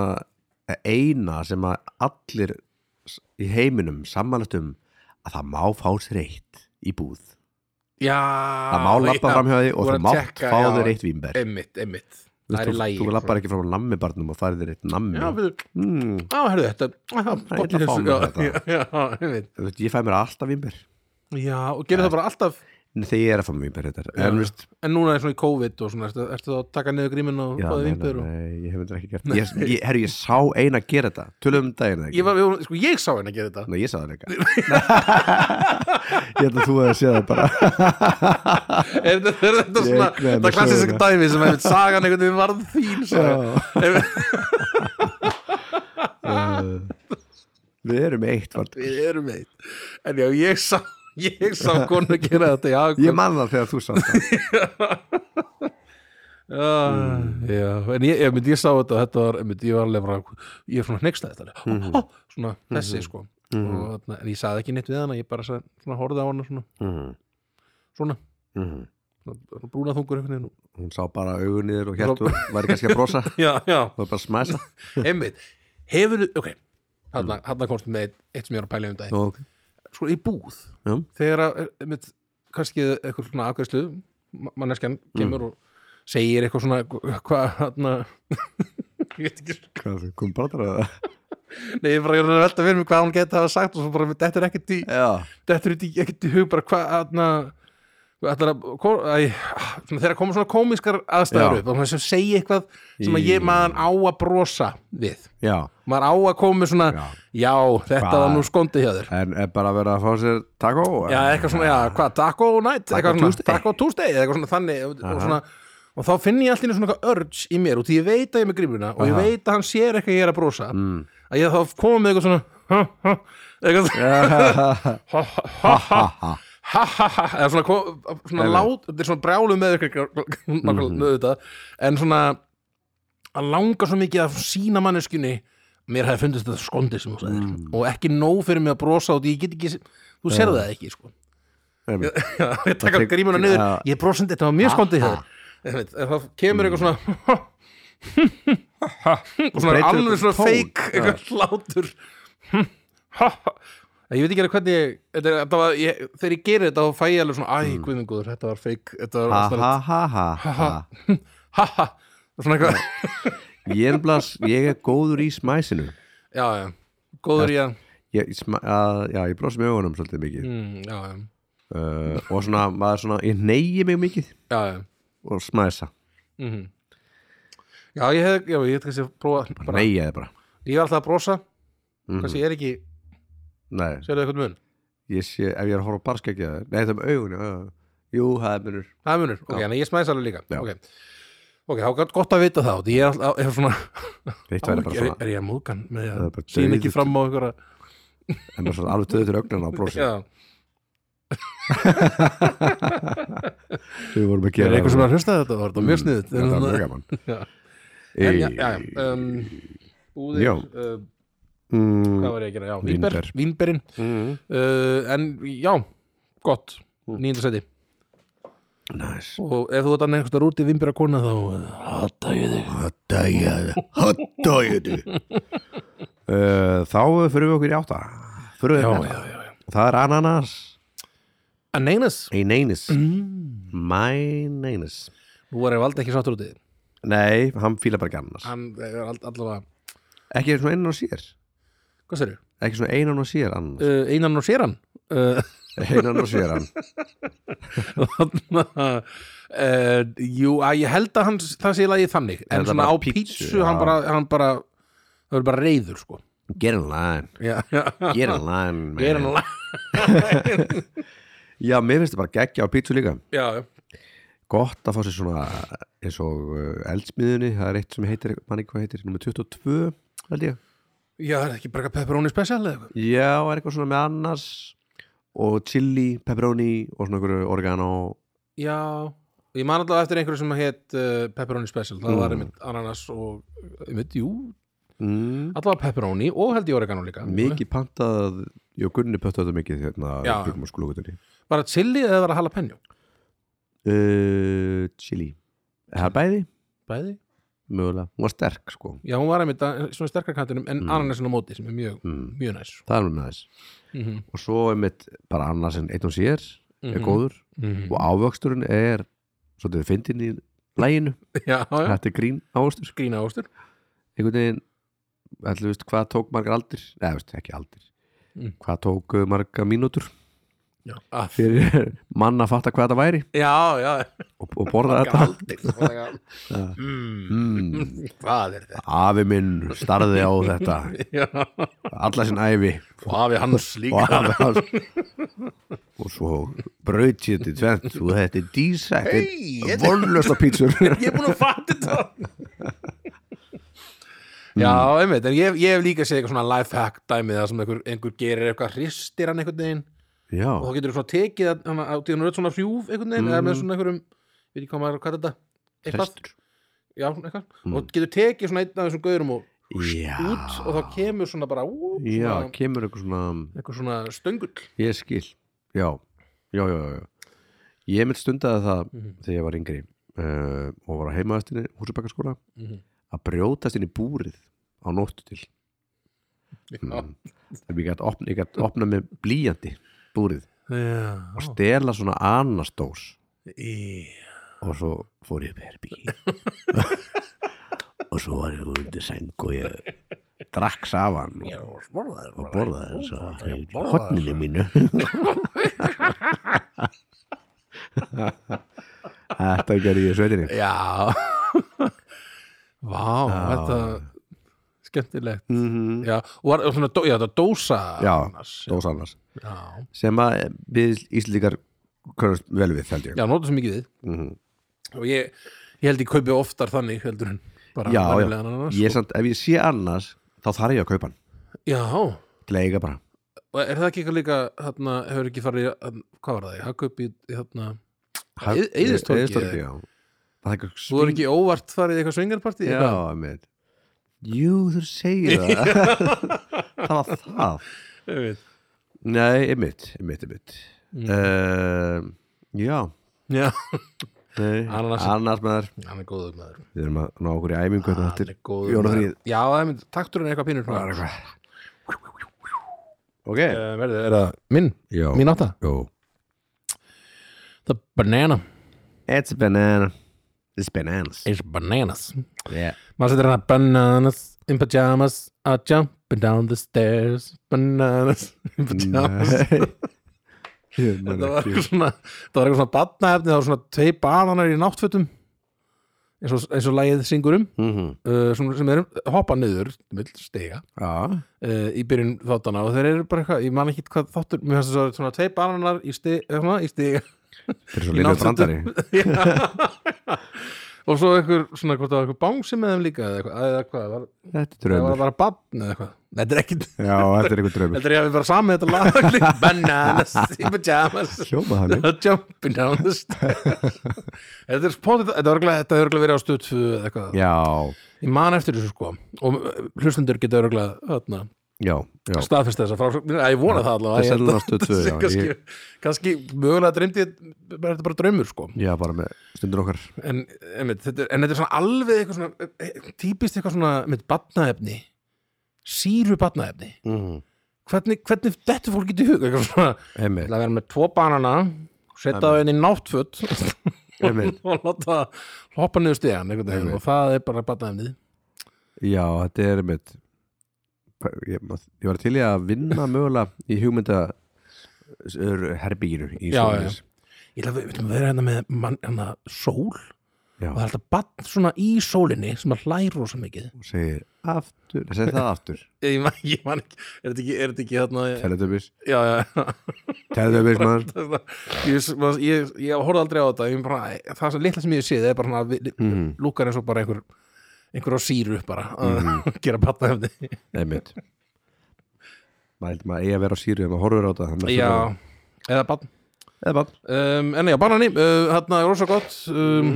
eina sem að allir s- í heiminum samanlegt um að það má fá sér eitt í búð já það má lappa framhjá því Ah, og Þú er það að mátt tékka, fá já. þér eitt vinnber einmitt, einmitt Þú það er í veist, lagi sko. þú, þú lappar ekki frá nammibarnum og farið þér eitt nammi já, við, mm, á, herrðu þetta á, er illa að fá já, með þetta. já, <laughs> já, einmitt þú veist, ég fæ mér alltaf vimber já, og gerir það bara alltaf þegar ég er að fá mér vimber þetta Já. en veist, En núna er svona í COVID og svona, ertu, ertu þá að taka niður grímin og já, fáði nei, nei, vimbiður og... nei, ég hef þetta <laughs> ekki gert ég, ég, herru, ég sá eina að gera þetta tölum um daginn eða ekki Ég, var, ég, sko, ég sá henni að gera þetta Nei, ég sá það <laughs> líka ég held að þú hefði séð það <laughs> bara Er þetta, er þetta Ég svona, gleði þetta mér klassisk söguna. dæmi sem hefði sagan einhvern veginn varð þín saga. Ef- Uh, við erum eitt vart. Við erum eitt En já, ég sá, ég sá konu að gera þetta Já, ég man það þegar þú sá það já, já En ég, ég, myndi, ég sá þetta, þetta var, ég, myndi, ég var alveg bara, ég er svona hneikslaði þetta mm Svona þessi, sko og, þarna- En ég saði ekki neitt við hana, ég bara sagði, svona, horfði á hana svona, Mhm, svona mhm. brúna þungur einhvern veginn hún sá bara augun niður og hértu væri kannski að brosa já, já, og bara <laughs> smæsa einmitt hefur, ok, hann að komst með eitt, eitt sem ég var að pæla um dag og, sko í búð, já, þegar að einmitt, kannski eitthvað svona afgæðslu manneskjan kemur og segir eitthvað svona hva- hvað hann <laughs> ég veit ekki, hvað það kom bara þar að nei, ég er bara ég er að velta fyrir mig hvað hún geti hafa sagt og svo bara, þetta er ekkert í já, þetta er ekkert í hug bara hvað aðna ætlar að, ko- æ, ah, svona, þegar koma svona komískar aðstæður Já. upp og maður sem segja eitthvað sem að ég maður á að brosa við já, maður á að koma með svona já, Já. þetta Hvað? var nú skondið hjá þér en er bara að vera að fá sér takó já, <laughs> eitthvað svona, já, hvað, taco night Taco eitthvað svona, Tuesday. taco Tuesday eða eitthvað svona þannig og, og, Aha. svona, og þá finn ég allir svona eitthvað urge í mér og því ég veit að ég er með grímuna og ég Aha. Mm. veit að hann sér eitthvað ég er að brosa að ég þá koma með eitthvað svona ha, ha, eitthvað svona, ha, ha, ha, ha, ha, ha, eða svona, kom- svona Nei, Mhm. nei. lát, þetta er svona brjálu með ykkur nákvæmlega auðvitað, en svona að langa svo mikið að sína manneskunni mér hefði fundist þetta skondið sem þú sagðir Mm. og ekki nóg fyrir mig að brosa og ég get ekki, þú serðu það ekki sko. Já, ég taka tek- grímuna niður, já. ég brosandi þetta var mjög skondið hjá þér Einmitt, en þá kemur eitthvað <laughs> svona og svona breytir alveg þetta svona tón. feik Já. eitthvað hlátur ég veit ekki alveg hvernig ég, þetta, er- þetta var, ég, þegar ég geri þetta þá fæ ég alveg svona, æ, mm. guðmingur, þetta var feik þetta var ha ástæðan, ha ha ha ha ha svona eitthvað, ég er, blas, ég er góður í smæsinu já, <laughs> já góður í að, ég, sma, að, já, ég brosi með augunum svolítið mikið mm, já, já uh, og svona, maður svona, ég neyji mig mikið já, já, og smæsa, mhm já, ég hef, já, ég hef kannski að prófa bara, neyja þið bara ég var alltaf að brosa, Mhm. kannski ég er ekki Nei, sérðu eitthvað mun ég sé, ef ég er að horfa á barskegja Nei, það er með augun já, já. Jú, það er munur Það er munur, ok, en ég smæðis alveg líka Já. Ok, ok, þá er gott að vita það Því ég er alltaf, ég er svona, Þetta er bara er, svona, er ég að múðgan með Það er því bara að sín ekki dauður- fram á einhverja en maður svona alveg töðu til augnana á brosi Já, Við vorum að er gera Mm. einhver sem er að hlusta þetta, var þetta mjög sniðut Þetta var mjög gaman Já. Í- En já, já, já um, Búðir, Já. uh, Mm, hvað var ég að gera, já, vínber, Vínber. vínberin mm, uh, En já, gott, nýjönda seti Næs Og ef þú ert annað einhverstað út í vínbera kona þá Hata ég þig Dæjaði, <laughs> hattajaði Eh, Þá fyrir við okkur í átta Fyrir við Já, okkur í já, átta já, já Það er ananas En neynas, Ein einis My neinis nú var ég valdi ekki sáttur út í því. Nei, hann fíla bara ekki ananas Hann er all- allavega, Ekki svona einan og sér hvað serðu? Ekki svona einan og sér ananas uh, einan og séran <laughs> uh, Einan og sér hann uh, jú, að ég held að hans, það sé lagið þannig Er en það svona á bara pítsu, pítsu, hann, já. bara, hann bara það verður bara reyður sko Get in line já, já, Get in line, man. ég er hann lag Já, mér finnst það bara geggja á pítsu líka já, já, Gott að fá sér svona eins og uh, eldsmiðunni Það er eitt sem heitir, manni hvað heitir, nummer 22 held ég já, er ekki bara pepperoni special eða eitthvað Já, er eitthvað svona með annars og chili, pepperoni og svona einhverju oregano já, ég man alltaf eftir einhverju sem hétt uh, pepperoni special, það var Mm. einmitt ananas og, einmitt, jú mm. alltaf pepperoni og held ég oregano líka Mikið pantað, ég og Gunni pöttu þetta mikið hérna Já. byggum á skólugutinni var það chili eða var það jalapeno? uh, Chili Það er bæði, bæði mögulega, hún var sterk sko já, hún var einmitt að- svona sterkar kantinum en Mm. ananasin á móti sem er mjög, mm. mjög næs Það er alveg með þess mm -hmm. Og svo er mitt bara annars en einn og sér er góður mm og ávöxturinn er svolítið fyndin í læginu já, já. þetta er grín ávöxtur grína ástur einhvern veginn, ætlum veist hvað tók margar aldir eða veist ekki aldir Mm. hvað tók uh, margar mínútur já, ah, fyrir <laughs> mann að fatta hvað þetta væri já, já. og, og borða þetta Galdir, svona, mm, mm, hvað er þetta afi minn starði á þetta já. alla sinn æfi og hafi hans og, líka afi, hans, og svo braut ég þetta í tvennt og þetta er dísætt Hey, hey, þetta- vonlöst á <laughs> pítsur ég er búin að fatta <laughs> þetta já, Mm. einmitt en ég, ég hef líka séð eitthvað svona lifehack dæmið það sem einhver, einhver gerir eitthvað hristir hann einhvern veginn já, og þá getur þú svona tekið að- hann á tíðan rödd svona hrjúf einhvern veginn eða Mm. með svona einhverjum veit ekki hvað maður, hvað er þetta eitthvað, hrestur já, eitthvað Mm. og getur tekið svona einn af þessum gaurum og já, út og þá kemur svona bara ú, já, svona, kemur eitthvað svona eitthvað svona stöngull Ég skil, já, já, já, já. Ég mitt stundaði það Mhm. þegar ég var yngri uh, og var á heimaðastinni húsabækarskóla Mhm. að brjótast inn í búrið á nóttu til mm. þegar ég gætt opna, ég gat opnað með blíjandi búrið Já. og stela svona anastós Í- og svo fór ég upp í herbyggi <laughs> <laughs> og svo var ég undir seng og ég drakk safan og, og borðaði þess að hotninu mínu Þetta gerði ég í sveitinni Já <laughs> Vá, þetta skemmtilegt mm Já, og var og svona, dó- já, þetta dósa Já, annars, já, dós annars já. sem að við Íslendingar könnast vel við, held ég já nota svo mikið við Mhm. og ég, ég held ég kaupi oftar þannig heldur en bara Já, já. venjulegan annars sko. ég samt, ef ég sé annars þá þarf ég að kaupa hann Já, og til að eiga bara er það ekki eitthvað líka hérna, hefur ekki farið, í- hann- hvað var það, ég haka upp í hérna, Ha- Eyð- Eyðistorgi, Eyðistorgi, eða? já Það er eitthvað þú er svín- ekki óvart farið í eitthvað svingarparti Já, einmitt Jú, þú segir <laughs> það Það var það ég veit Nei, einmitt, einmitt, einmitt Mm. mm. Já, Já, nei Ananas. Annars maður hann er góður maður Við erum að ná okkur í æmingu hérna Hann eftir er góður Jólafríið. maður Já, það er mynd, takturinn er eitthvað pínur Bara uh, eitthvað. Ok, Verðið, er það minn, já mín átta Jó The banana It's a banana It's bananas is bananas Yeah Maður setur hana bananas in pajamas A jumping down the stairs Bananas in pajamas <laughs> Ég man Þetta var ekki. eitthvað svona Það var eitthvað svona badnaefni Það var svona tvei bananar í náttfötum eins og, eins og lagið syngur um Mhm. uh, sem, sem er hoppa niður vill stiga Já, uh, í byrjun þáttana og þeir eru bara eitthvað ég man ekki hvað þáttur mér finnst þess að svona tvei bananar í stiga, svona, í stiga þetta er svo Í línur náttfötum. brandari og svo einhver svona hvort það var eitthvað bánsi með þeim líka eða eitthvað, eða hvað, var, Þetta er það draumur var bara badn eða eitthvað þetta er ekki Já, þetta er eitthvað draumur Þetta er ég að við bara samið þetta lag Bananas í pajamas Hljóma þannig <laughs> Jumping down the stairs Þetta er spótið Þetta er örugglega- þetta er örgulega verið á stuð 2 eða eitthvað Já, Ég man eftir þessu sko Og hlustundur geta örgulega hérna, já, já staðfest þessa frásögn Ég vona það allavega Ég Þetta er held að sennilega á Stöð þetta sé 2, já, kannski, kannski mögulega dreymdi ég- bara- Þetta er bara draumur sko Já, bara með stundur okkar En, einmitt, þetta, er, en þetta er svona alveg eitthvað svona eh, Típist eitthvað svona með batnaefni Sýru batnaefni mm. Hvernig, hvernig þetta fólk getur hug Eitthvað svona Einmitt, Það að vera með tvo banana setja það inn í náttföt einmitt <laughs> og láta það hoppa niður stegan einhvern veginn Einmitt. og það er bara batnaefnið Já, þetta er einmitt Ég, ég var til í að <coughs> vinna mögulega í hugmynda herbygginu í Já, Sjónis Ég ætla að við veitum að vera hérna með mann, hérna, sól Já. og það er alltaf batn svona í sólinni sem að hlæra rosa mikið og segir <laughs> aftur, það segir það aftur Ég man, ég man ekki, er þetta ekki, er þetta ekki hérna Teletubbies, Já, <laughs> já, Teletubbies maður ég, ég, ég, ég horfði aldrei á þetta ég bara, það sem litla sem ég séð er bara svona, við- Mhm. lúkar eins og bara einhver einhver á síru bara að <laughs> gera batnaefni Einmitt Maður heldur maður eigi að vera á síru ef maður horfir á þetta þannig að Já, eða batn Eða bara, um, En já, banani, uh, hérna er rosa gott um,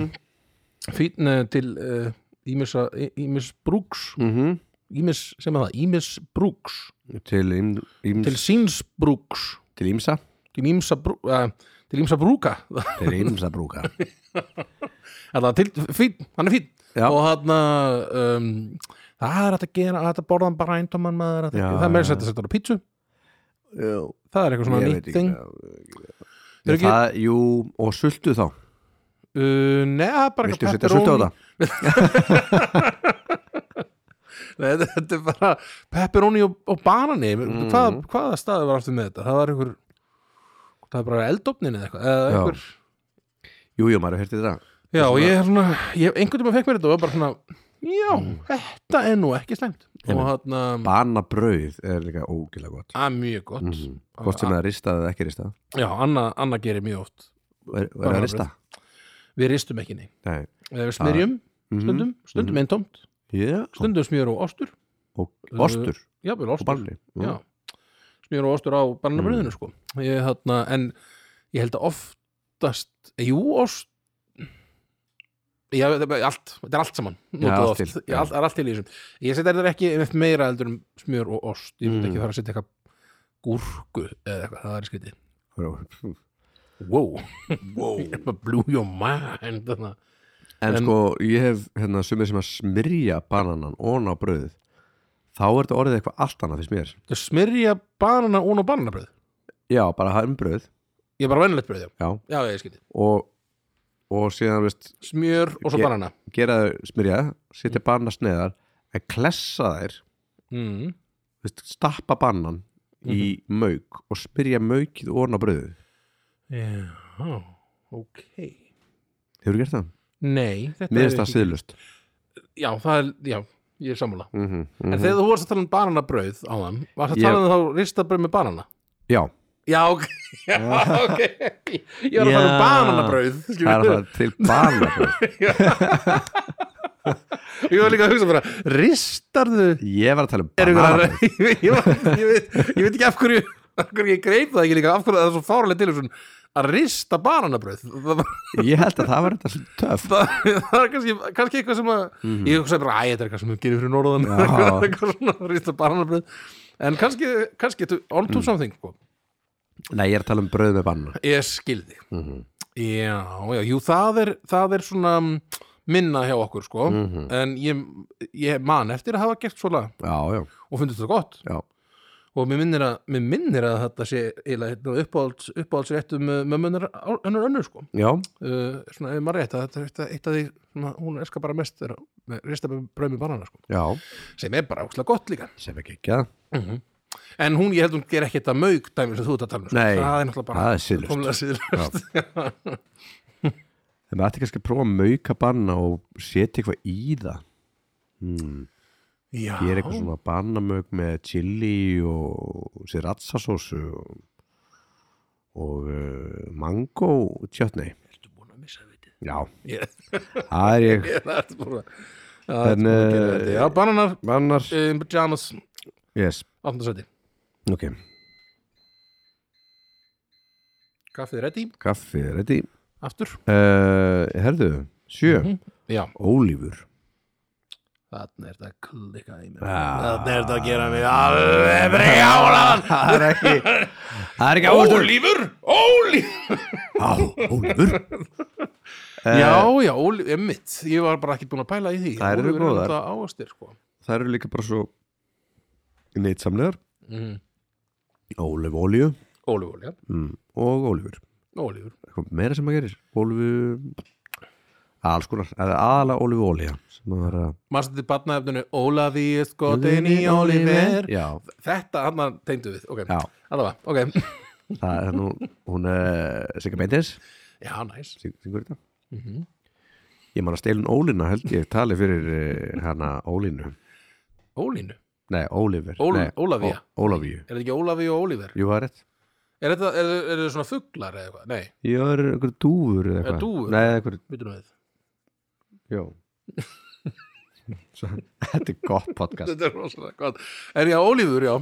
Fýtn uh, til uh, Ímissa, Ímiss Brúks mm Ímiss, sem er það, Ímiss Brúks til, ím, íms, Til síns Brúks til ímsa Til Ímsa, brú, uh, til ímsa Brúka <laughs> Til ímsa brúka Þetta til, fýtn, hann er fýtn Já. Og hérna um, Það er hægt að gera, hægt að borða hann bara eintóman maður hægt að- Já, Það er meira já. sett að setja á pítsu Já, Það er eitthvað svona ég veit nýtt ekki þing Já, Er ekki- það, Jú, og sultu þá uh, Nei, það er bara Viltu eitthvað setja sultu á pepperoni. það? Nei, þetta- þetta er bara pepperoni og, og banani mm. Hvað, hvaða staði var aftur með þetta? Það var einhver það var bara eldofnin eða eitthvað eða Já. einhver, Jú, jú, maður hefur hértið það já, og ég er svona ég, einhvern tímann fekk mér þetta og var bara svona já, Mm. þetta er nú ekki slæmt og þarna, Banabrauð er líka ógilega gott að mjög gott Hvort Ah. sem það er ristað eða ekki ristað já, Anna, Anna gerir mjög oft Og Er, og er það Banabrauð. ristað? við ristum ekki ney, Nei Mhm. við Eh, smyrjum stundum, stundum eintómt, Já, stundum smjör og ostur og ostur já, vel og Mhm. Mm. ostur, banni já smjör og ostur á barnabröðinu sko ég, þarna, en ég held að oftast jú, ost já, þetta er bara allt, þetta er allt saman notað allt oft. til, Ég- já. allt, það er allt til í þessum ég setja þetta ekki einmitt meira heldur um smjör og ost ég myndi Mm. ekki fara að setja eitthvað gúrku eða eitthvað, það er skrítið Já. <laughs> wow, wow. <laughs> ég bara blew your mind þarna. en, En- sko, ég hef hérna sumið sem að smyrja bananan ón á brauðið þá er þetta orðið eitthvað allt annað fyrst mér Þau smyrja banana ón og bananabröð já, bara hafa um brauð ég er bara vennilegt bröð, já, já, já, ég skilji og, og síðan, veist, smjör og svo Ég- banana gera þau smyrja setja banana sneiðar, en klessa þær mm. veist, stappa banan í mauk og smyrja maukið ón á brauðið já, ok hefur gert það? nei, þetta mér finnst er það siðlust já, það er, já, ég er sammála mm -hmm, en þegar þú varst að tala um bananabröð á þann varst að Ég- tala um þá ristabröð með banana já, já, ok, <laughs> já, ok ég var að tala um Já. bananabröð það er skilurðu. það til banabrauð ég var líka að hugsa bara, ristarðu ég var að tala um er ykkur að <laughs> banabrauð ég, ég, ég, veit, ég veit ekki af hverju af hverju ég greip það ekki líka af hverju það er svo fárlega til svona, að rista bananabröð það, ég held að það var þetta svolítið töff það, <laughs> það er kannski, kannski eitthvað sem að ég hugsaði bara, æ, þetta er eitthvað sem við gerum fyrir norðan <laughs> Mhm. Já. eitthvað svona að rista bananabröð en kannski, kannski, þetta er Mm. on to something sko. nei, ég er að tala um brauð með banana ég skildi mm -hmm. já, já, jú, það er það er svona mm, minna hjá okkur sko. Mhm. en ég, ég man eftir að hafa gert svona já, já, og fundið þetta gott já, og mér minnir að, mér minnir að þetta sé eiginlega hérna, uppáhalds, uppáhaldsréttum eh, mömmunar önnur önnur sko já, uh, svona ef maður rétt að þetta er eitt af- eitt af því svona, hún elskar bara mest er að rista með brauð með banana sko já sem er bara ókslega gott líka sem ekki ekki að en hún ég held hún ger ekki þetta mög dæmi sem þú ert að tala um sko. Nei, það er náttúrulega bara það er siðlaust. tómlega siðlaust. það ætti kannski að prófa að mauka banna og setja eitthvað í það hmm. <laughs> já, ég er eitthvað svona bannamög með chili og siratsasósu og, og uh, mango chutney ertu búin að missa vitið já, Ég- það er ég ég- það ertu búin að- Já, En, ertu búin að gera eh, þetta. já, bananar annars, um, pyjamas, yes, 18. seti ok kaffið ready, kaffið er ready aftur uh, herðu, sjö já, ólífur Þannig er þetta að klikka í mér Ah. Þannig er þetta að gera mig alveg brjálan <laughs> það er ekki það er ekki ávöxtur Ólífur, Ólífur á, ólífur Eh. Já, já, Ólífur, emmitt Ég var bara ekki búin að pæla í því Þær eru Ólífur góðar. er þetta áastir sko. það eru líka bara svo neitsamlegar mm. ólíf ólíu Ólífur, já, mm. og ólífur Ólífur eitthvað meira sem maður gerir ólífu alls konar, eða aðala ólífu ólíja sem maður er að Manstu til batnaefninu Ólafi er skotin í Ólífur já, sko, Þetta hann að tegndu við Ok, já, allavega, ok það er nú hún er Sigga Beintes Já, næs syng- syngur þetta Mhm. ég man að stelun Ólína held ég tali fyrir eh, hana Ólínu Ólínu, nei, Ólífur Ól- Nei, Ólafía. Ó- Ólafíu, er þetta ekki Ólafi og Ólífur? jú það er rétt Er þetta, er, er þetta svona fuglar eða eitthvað? Nei, ég var einhver dúfur eða Eh, eitthvað dúfur? nei, einhver, vitum við já <laughs> Svo- þetta er gott podcast Þetta er rosalega gott En já, Ólífur, já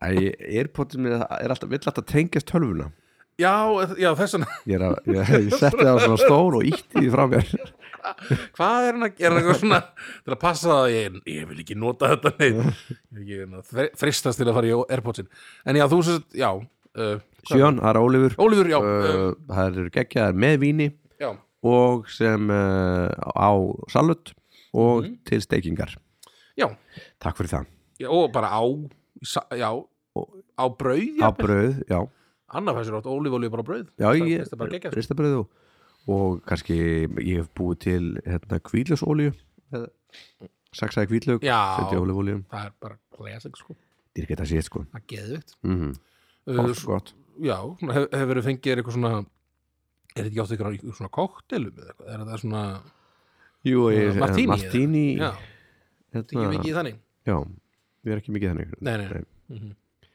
Æ, Airpodin er, er alltaf, vill alltaf tengjast tölvuna Já, eh, já þess vegna <laughs> Ég, er að, ég, ég setti það á svona stól og ítti því frá mér <laughs> hvað er hann að gera eitthvað svona til að passa það að ég, ég vil ekki nota þetta <laughs> neitt ég vil ekki hérna, þre- freistast til að fara í Airpodsin en já, þú sérst, já uh, Sjón, Ara Ólífur Ólífur, já, uh, uh, Það eru geggjaðar með víni já og sem uh, á salut og Mhm. til steikingar já, Takk fyrir það já, og bara á sa- já, á brauð Á já, brauð, já, annar fæsir átt ólífólíu bara á brauð já Það ég, finnst það bara geggjað, sko. ristabrauð og, og kannski ég hef búið til hérna kvíðlösólíu eða saksaði kvíðlög Já. setti ólífólíu það er bara classic sko, Dýrk þetta sétt sko það er geðvikt mm uh, Gott, gott já, svona hef, hefur þið fengið þér eitthvað svona er þetta ekki átt ykkur á ykkur svona koktelum eða eitthvað, er þetta svona Jú, ég, Martini, eða? Eh, Martini hérna. já, þetta er ekki mikið í þannig Já, við erum ekki mikið þannig Nei, nei. nei.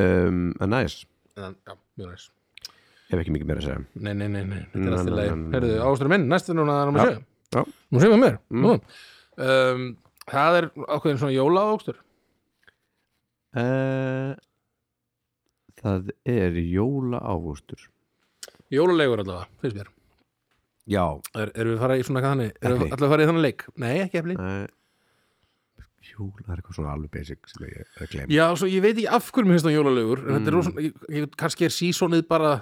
Um, En næs, en, já, mjög næst hef ekki mikið meira að segja Nei, nei, nei, nei, þetta er Nei, allt í nei, lagi nei, nei, nei. Herðu, ástæður minn, næstu núna er Já, nummer 7 já. Nú séum við mér mm. um, Það er ákveðin svona jóla ástur uh, Það er jóla ávöxtur Jólalegur allavega, finnst mér Já er, Erum við að fara í svona eitthvað þannig? Erum við Epli. allavega að fara í þannig leik? Nei, ekki efli uh, hjól, það er eitthvað svona alveg basic sem ég er að gleyma Já, svo ég veit ekki af hverju mér finnst það jólalögur en þetta er rosan, ég, ég, kannski er sísonið bara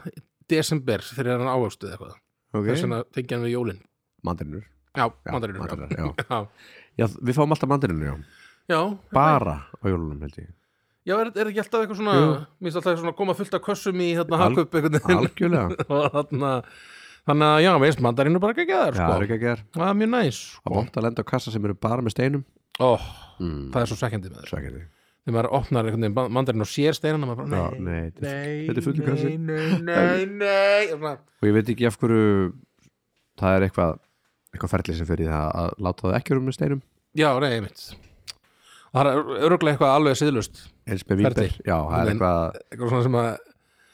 desember þegar hann ávöxtu eða eitthvað þess okay. vegna tengja hann við jólin Mandarinur Já, Já, mandarinur já. mandarinur, já. Já. Já, Við fáum alltaf mandarinur, já já, Bara á jólunum held <laughs> ég já, er, er ekki alltaf eitthvað svona Jú. mér finnst alltaf svona að koma fullt af kössum í þarna Al- hakup einhvern veginn Algjörlega, og þarna þannig að já, veist, mandarinu bara ekki að já, það er það sko. ekki að gera það er mjög næs Það sko. vant að lenda á kassa sem eru bara með steinum Ó, mm. það er svo sækjandi með þér Sækir þig þegar maður opnar einhvern veginn mandarinu og sér steinana maður bara, Já, nei, þetta er- nei, þetta er fullur kassi. nei, nei, nei, nei. Og ég veit ekki af hverju það er eitthvað eitthvað ferli sem fyrir það að láta það ekki vera með steinum já, nei, einmitt og það er öruglega eitthvað alveg siðlust eins með vínber, Ferli. já, það er En- eitthvað eitthvað svona sem að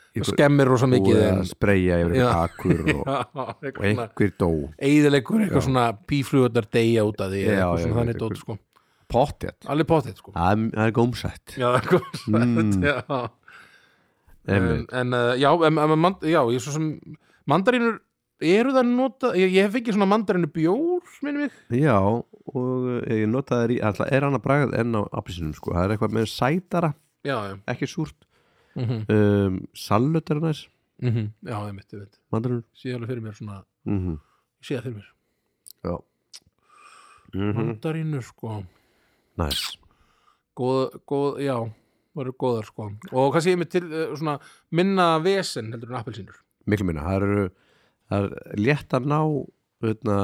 Einhver- skemmir rosa mikið búið að en, spreyja yfir Já. eitthvað akkur og, <laughs> já, eitthvað og svona einhver dó eðilegur eitthvað svona píflugurnar deyja út af því Já, eitthvað já, svona já, þannig eitthvað- dót sko Pottjætt, alveg potið sko það er- það er gómsætt já, eitthvað Mm. svona <laughs> já Einmitt. um, en uh, já, um, um, mand, já ég svo sem mandarínur eru það nota ég, ég hef ekki svona mandarínu bjór minnum ég Já, og eh, ég notaði þær í alltaf er annað bragð enn á appelsinum sko. það er eitthvað með sætara, já, já, ekki súrt mm -hmm. um, salut er næs, mhm. já, ég mitt, ég mitt mandarinn sé alveg fyrir mér svona, mm -hmm. ég sé það fyrir mér Já mm mandarínur sko, Næs, góð, góð já, voru góðar sko og kannski ég mitt til uh, svona minna vesen heldur en appelsínur miklu minna það eru það er létt að ná veitna,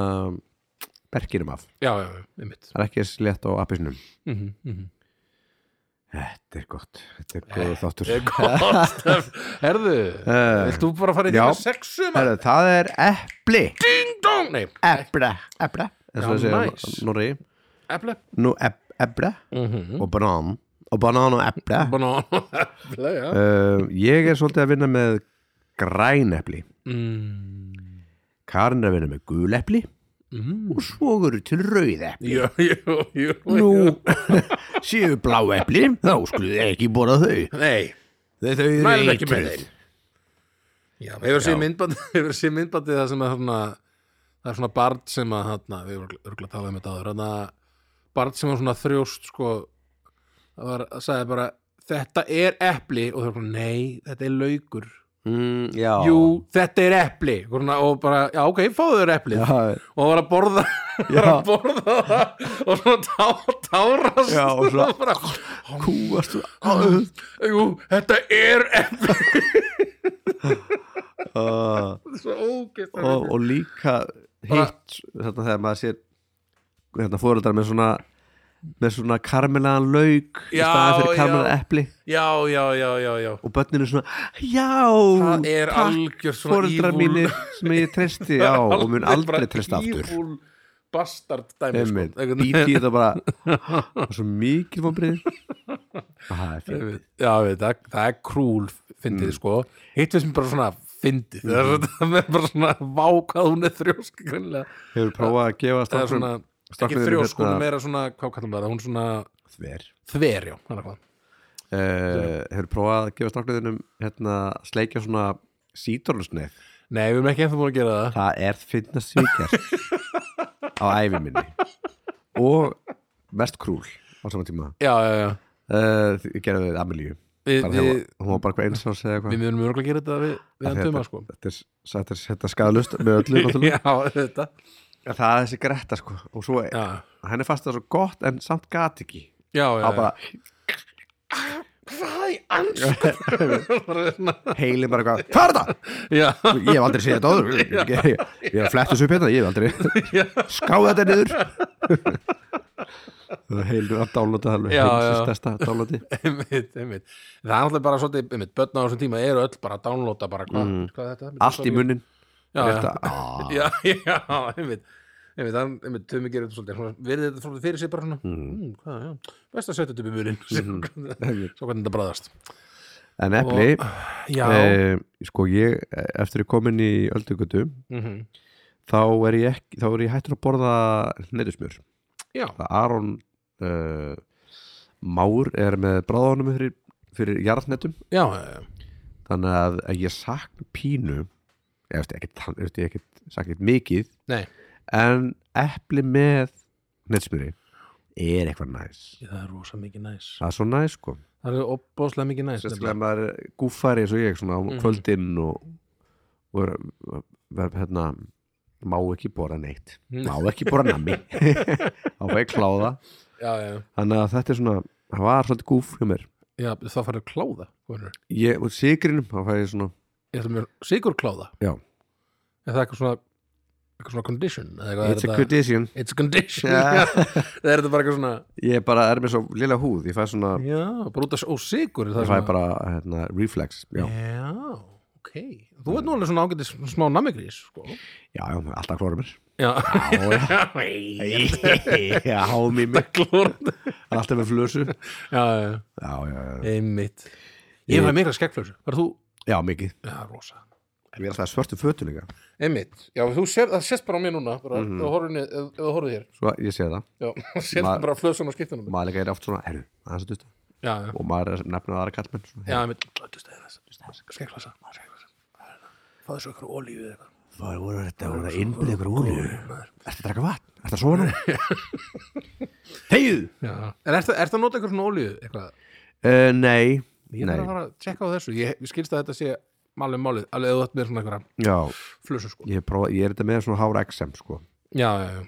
berkinum af já, já, já, ég mitt það er ekki eins létt á appelsinum mm -hmm, mm -hmm. Þetta er gott, þetta er góð þáttur Eh, <laughs> herðu, Eh, vilt þú bara fara í já. því með sexum Herru, Það er epli ding dong, nei, Eple, eple eins og Já, það næs. segja Norri eple Nú ep, eple mm -hmm. og banan og banan og eple banan <laughs> eple, já uh, Ég er svolítið að vinna með græn epli Mm. Karin er að vinna með gul epli Mm. og svo eru til rauð epli Jú, jú, jú, jú. Nú <laughs> séu blá epli þá skuluð þið ekki bóra þau Nei, Þau þau eru mælum ekki með eitruð. þeim Já, hefur séð Já. myndbandi <laughs> hefur séð myndbandi það sem að þarna það er svona barn sem að þarna við vorum örgulega að tala um þetta áður þarna barn sem var svona þrjóst sko það var, sagði bara þetta er epli og það var bara nei, þetta er laukur mm, Já Jú, þetta er epli Og svona- og bara, já ok, fáðu þér eplið Já, og það var að borða <laughs> var að borða það og svona tá, tárast Já, og svona- og <laughs> bara, kúast og jú, þetta er epli <laughs> uh, svo ógeðslega og, og líka hitt þarna þegar maður sér hérna fóreldrar með svona með svona karmelaðan lauk í Já, staðan fyrir já. karmelaðan epli já, já, já, já, já og börninu svona, já það er takk algjör svona fóreldrar evil- <laughs> mínir sem ég treysti <laughs> á og mun algjör bara aldrei treysta aftur evil bastard dæmi sko. Einmitt, Einhvern- bíti þetta <laughs> bara það er svo mikil vonbrið það er fyrir já, við, það, það er krúl fyndið Mm. sko, hittum sem bara svona fyndið, það er svona- <laughs> Mhm. það er bara svona vákað hún er þrjósk greinlega hefur prófað að gefa það er stráknum svona, ekki stráknum þrjósk hún er meira svona, hvað kallum við það, hún svona þver þver, já, hann er hvað uh, hefur prófað að gefa stráknum hérna, sleikja svona sítrónusneið Nei, við erum ekki ennþá búin að gera það Það er finnast svíkjart <laughs> á ævi minni og mest krúl á sama tíma Já, já, já uh, gerðu við Amelíu Við, bara við, þegar hún var bara eitthvað eins árs eða við eitthvað munum örgulega að gera þetta við, við hann þetta, tuma, sko þetta er, þetta er, þetta er skadalust með öllu náttúrulega. <laughs> Já, þetta En það er þessi gretta sko og svo Já, henni fannst það svo gott en samt gat ekki já, já, það já. var bara Hvað í ansku? heilin bara eitthvað hvað er það? já, <laughs> ég hef aldrei séð þetta áður ég, ég, ég hef flett þessu upp hérna, <laughs> ég hef Já. aldrei skáð þetta niður <laughs> það er heilin að dálóta alveg Já, heilsins já. testa dálóti einmitt, einmitt Það er alltaf bara svolítið, einmitt, börn á þessum tíma eru öll bara að downloada bara hvað, hvað er þetta? Mm. allt í Ah. munnin Já, já, já. <laughs> já, já, einmitt Einmitt, hann, einmitt, tumi gerir þetta svolítið svona, Verið þetta svolítið fyrir sig bara svona mm. hvað, já, best að setja þetta upp í <laughs> mjörin Mm-hmm. Svo hvernig þetta bræðast en epli Já, eh, sko ég eh, eftir ég komin í öldugötu mhm, þá er ég ekki, þá er ég hættur að borða neytusmjör já það Aron eh, Már er með bráðanum fyrir, fyrir jarðnetum Já, já, já þannig að að ég sakna pínu ég veist ekki, veist, ég ekki sakna ekkert mikið Nei. en epli með neytusmjöri er eitthvað næs það er rosa mikið næs það er svo næs sko það er opbóðslega mikið næs sérstaklega ef maður er gúffari eins og ég svona á Mhm. kvöldin og, og er, ver, hérna má ekki bora neitt Mm. má ekki bora nammi <laughs> þá fæ ég kláða já, já, þannig að þetta er svona, það var svolítið gúf hjá mér já, þá færðu kláða konur. ég, og sigrinum, þá fæ ég svona ég ætla mér sigur kláða Já. er það eitthvað svona eitthvað svona condition eða eitthvað er it's a þetta- condition it's a condition <laughs> Ja. það er þetta bara eitthvað svona ég bara er með svo lilla húð, ég fæ svona já, bara út af og sigur ég fæ bara hérna, reflex já. já, ok þú ert nú alveg svona ágætis smá namigrís sko. já, já, alltaf klóra mér já, já, já, <laughs> já, há mér mér klórn alltaf með flösu já, <laughs> já, já, já, já, einmitt ég Ég- fæ mikla skekkflösu, var þú já, mikið já, rosa ég er alltaf svörtu fötu líka Einmitt, já þú sér, það sést bara á mér núna bara, Mhm. mm -hmm. ef þú horfðu hér svo ég sé það, já, <laughs> sér Ma- Ma... bara flöðsum á skiptunum maður líka er oft svona herru, aðeins að dusta já, já, og maður er nefnir aðra kallmenn svona, já, einmitt skekklasa fáðu svo ykkur olíu eða eitthvað Hvað voru þetta? Voru þetta innbyrðið ykkur olíu? Ertu að draka vatn? Ertu að sofa nú? <laughs> Þegið! já. en ertu ert að nota ykkur svona olíu eitthvað? Uh, nei, ég þarf Nei. að fara að tjekka á þessu ég, ég skilst að þetta sé málið málið alveg ef þú ætti með svona ykkur já, flössu sko ég, prófa, ég er þetta með svona hára XM sko. já, já, já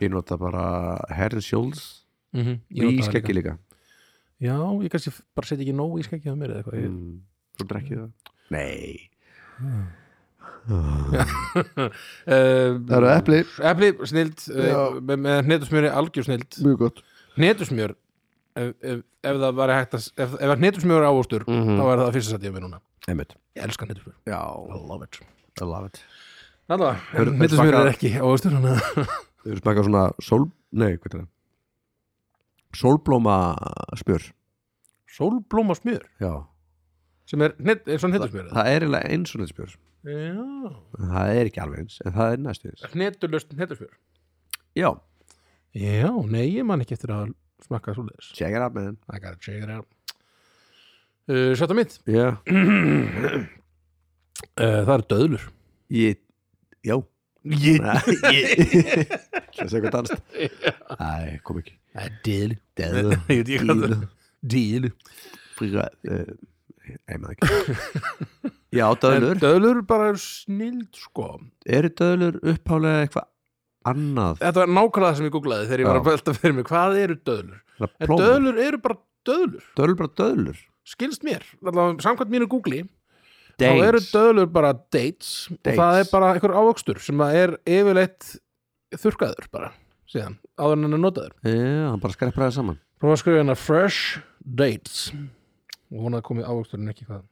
Ég nota bara Herren Schultz mm -hmm. í skeggi líka. já, ég kannski bara setja ekki nóg í skeggi á mér eða eitthvað mm. Mm, svo drekkið það. Nei. uh, eru epli. epli, snild Já. uh, með, með hnetusmjöri, algjör snild Mjög gott. hnetusmjör ef, ef, ef það var hægt að ef, ef hnetusmjör ávostur mm Mhm. þá er það fyrsta sætti á mér núna Einmitt. ég elska hnetusmjör Já, I love it I love it. Alla, Hörðu, hnetusmjör smakka- er ekki ávostur hana. Þau eru smakað svona sól... Nei, hvað er það? Sólblóma spjör. sólblóma smjör Já. sem er, hnet, er svona hnetusmjör Það er eiginlega eins og neitt spjör. já En Það er ekki alveg eins, en það er næstu eins. hnetulöst hnetusmjör Já. já, nei, ég man ekki eftir að smakka svo leiðis Check it out, man. I gotta check it out uh, Sjáta mitt, Já. uh, það eru döðlur Ég, já Ég Svo segja hvað danst Æ, kom ekki Það er dýðlu Dæðu <laughs> Ég veit ekki hvað það er Dýðlu Fríra Nei, maður ekki eh, <laughs> Já, döðlur Döðlur bara er snild sko Eru döðlur upphálega eitthvað annað? þetta var nákvæmlega það sem ég googlaði þegar ég var Já. að velta fyrir mig, hvað eru döðlur? Það er En plómur. döðlur eru bara döðlur, Döðlur bara döðlur skilst mér allavega samkvæmt mínu googli, þá eru Dates döðlur bara dates, og Dates. það er bara einhver ávöxtur sem að er yfirleitt þurrkaður bara, síðan, áður en hann er notaður Já, hann bara skreppur það saman Prófa að skrifa hérna fresh dates og hún að komið ávöxturinn ekki hvað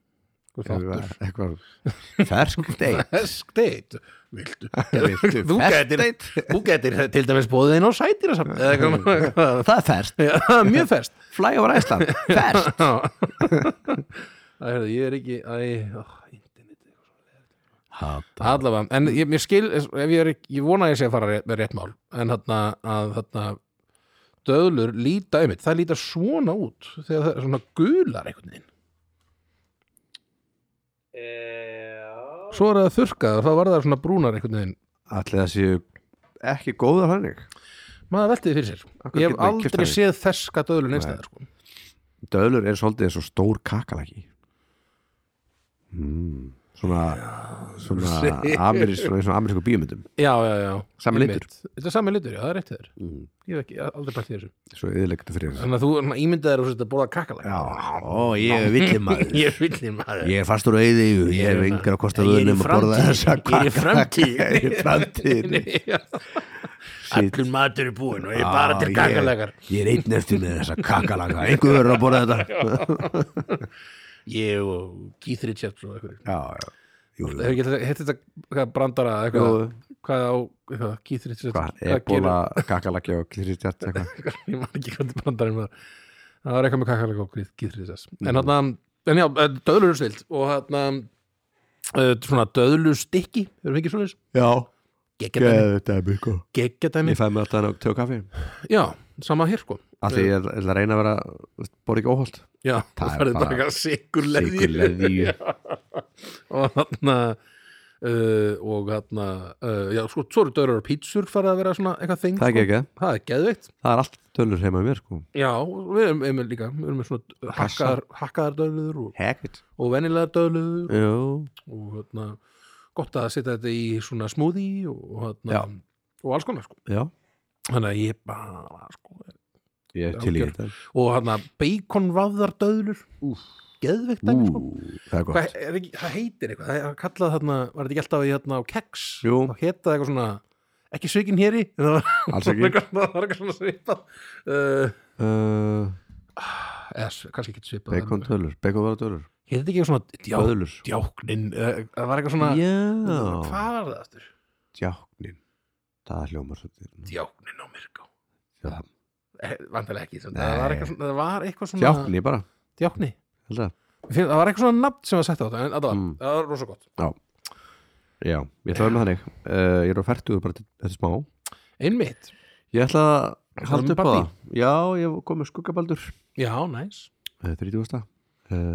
hvað <laughs> þáttur Eitthvað- Eitthvað <laughs> Fersk date Fersk date, <laughs> viltu Viltu Þú fersk gætir- date? Þú getur til dæmis bóðið inn á sætir eða <laughs> eitthvað Það er fersk Já, það er mjög <laughs> ferst Fly over Iceland Fersk Það er ég er ekki æ, ó, internetið. Hata Allavega, en ég, ég skil ef ég, er, ekki- ég vona að ég sé að fara rétt, með rétt mál en þarna, að, þarna döðlur líta einmitt, það líta svona út þegar það er svona gular einhvern veginn Svo er það þurrkað og þá var það svona brúnar einhvern veginn Allir það séu ekki góðar hannig maður veltið fyrir sér, Akkur ég hef getur maður keypt aldrei þannig? séð ferska döðlur neins Nei. neðar sko. döðlur er svolítið eins og stór kakalaki mm, svona svona amerísk svona eins og amerísku bíumyndum Já, já, já Sami Einmitt. Þetta er sami litur, já, það er rétt þeir mm, Ég hef ekki aldrei bætt því þessu svo yðurlegt fyrir þér. Þannig að þú svona, ímyndað þér að þú sért að borða kakalag já, ó ég er villið maður <laughs> Ég er villin maður ég er fastur á eyði ég er yngra að kosta vöðnum að borða þessa Ég er í kakalaki <laughs> ég er framtíðinni. í framtíðinni <laughs> Shit. Allur matur er búin og ég er Já, bara til ég- kakalagar ég er einn eftir með þessa kakalaka einhver verður að borða þetta Ég og Keith Richards og eitthvað <laughs> já, já Jú, Hefur ekki alltaf- heitt þetta hvað brandara eða eitthvað jú, Hvað á eitthvað, Keith Richards hvað, hvað ebola, kakalaki og kliristjart gerir- <laughs> Ég man ekki hvað þetta brandarinn var Það var eitthvað með kakalaga og Keith- Keith Richards En Mm. hann En já, eh, döðlur er snilt og hann svona döðlu stikki erum við ekki svoleiðis já, geggjadæmi geðu þetta er mjög góð geggjadæmi Ég fæði mig alltaf að tjóða kaffi Já, sama hér sko Af því ég er- ætla að reyna að vera Bóri ekki óholt Já, Það það er færði bara bara eitthvað sigur Sigur leði og þarna uh, og þarna uh, já, sko, svo eru dörur og pítsur farið að vera svona eitthvað þing Það er sko. ekki ekki það er geðveikt Það er allt dölur heima í mér sko Já, og við erum einmitt líka Við erum með svona Passa. hakkaðar, hakkaðar döðluður og, Hackett og venilega döðluður Jú, og hérna, gott að setja þetta í svona smoothie og, hérna, og alls konar sko. já, Þannig að ég bara sko, ég er til í Algjör. þetta og hérna beikonvafðar döðlur Geðveikt Ú, dæmi sko það er Hvað, gott er ekki, það heitir eitthvað, það er kallað þarna, var þetta ekki alltaf í hérna á keks Jú. það heitað eitthvað svona, ekki svikin hér í en það var Alls það <laughs> var eitthvað ekki það var eitthvað svona svipað uh, uh, eða s- kannski ekki svipað Bacon dölur, bacon var dölur heitði þetta ekki eitthvað svona djá, Dölur djáknin eða það var eitthvað svona, Já, hvað var það aftur djáknin Það er hljómar svolítið djáknin á myrká Já. Eh, vandalega ekki, svona, Nei. það var eitthvað svona, það var eitthvað svona Djákni bara, djákni, held að Mér finnst- það var eitthvað svona nafn sem var sett á þetta en þetta var, Mm. það var rosa gott Já, ég ætla að vera með þannig uh, Ég er á færtugur bara til- þetta smá einmitt, Ég ætla að Ertu halda kominn upp á partí? það Já, ég kom með skuggabaldur já, næs eh, 30. Um,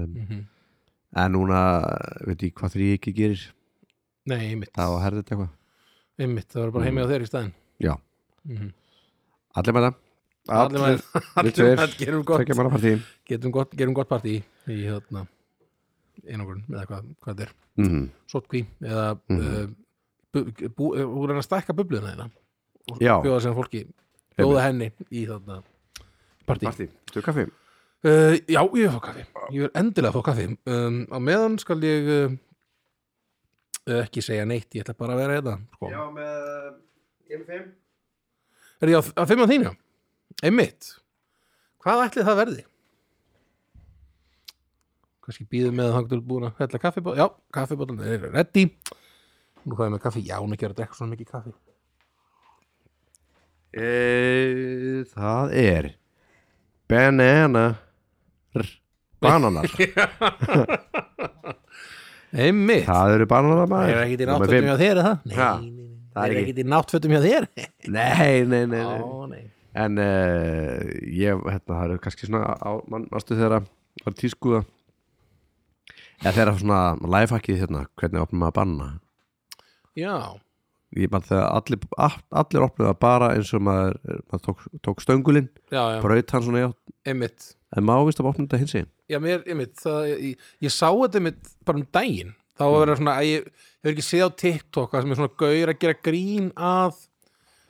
mm En núna, veit ég hvað þrý ekki gerir nei, einmitt Það var herðið eitthvað einmitt, það var bara heimi á þeir í staðin Já. Mhm. Allir með það allir maður <laughs> allir tveir, maður gerum gott Tvekja manna partí getum gott, gerum gott partí í hérna einangrun eða hvað, hvað þetta er Mhm. sotkví eða mm Mhm. uh, bú, hún er að stækka bubluna þeirna og Já. bjóða sem fólki bjóða henni í þarna partí Partí, stu kaffi uh, já, ég vil fá kaffi ég vil endilega fá kaffi um, á meðan skal ég uh, uh, ekki segja neitt, ég ætla bara að vera þetta sko. með Ég með fimm er ég á, á fimm á þínu? einmitt hvað ætli það verði? kannski býðum með að hann getur búin að hella kaffibóð já, kaffibóðan er ready nú hvað er með kaffi? já, hún er ekki að drekka svona mikið kaffi e, Það er Banana r- Bananar <laughs> einmitt, Það eru bananar það maður er ekkit í hérna. náttfötum Númer fimm. hjá þér, er það? nei, Ha, nei, nei, það það er er ekki. ekkit í náttfötum hjá þér Nei, nei, nei, nei. Ó, nei. En uh, ég, hérna, það eru kannski svona á, mann, Mástu þegar að var tískuða Eða þegar svona Lifehackið hérna, hvernig opnum maður að banna já, Ég mann þegar allir, all- allir opnum að bara eins og maður, maður tók, tók stöngulinn já, já, Braut hann svona játt einmitt En má vist að opnum þetta hins já, mér, einmitt, það, ég, ég sá þetta einmitt bara um daginn, þá var verið svona að ég hefur ekki séð á TikTok það sem er svona gaur að gera grín að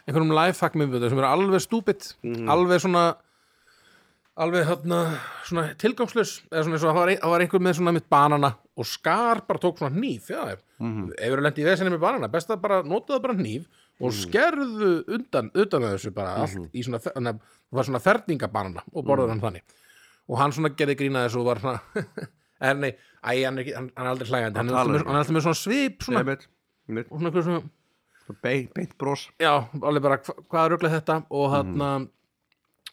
einhverjum lifehack myndböndum sem eru alveg stúpid, alveg svona alveg þarna svona tilgangslös, eða svona eins og það var, ein- það var einhver með svona mitt banana og skar bara tók svona hníf, já, ef mm. ef eru lent í vesinni með banana, best að bara notaðu bara hníf og skerðu undan, utan að þessu bara allt í svona, þannig að það var svona ferningabanana og borðaði hann þannig og hann svona gerði grína þessu og var svona <laughs> er nei, æ, hann er, ekki, hann, hann er aldrei hlægandi hann, er talar alltaf með- ekki. hann er alltaf með svona svip svona, Einmitt, einmitt. og svona, einhver svona Beint, beint brós já, alveg bara hva, hvað ruggla þetta Mhm. og þarna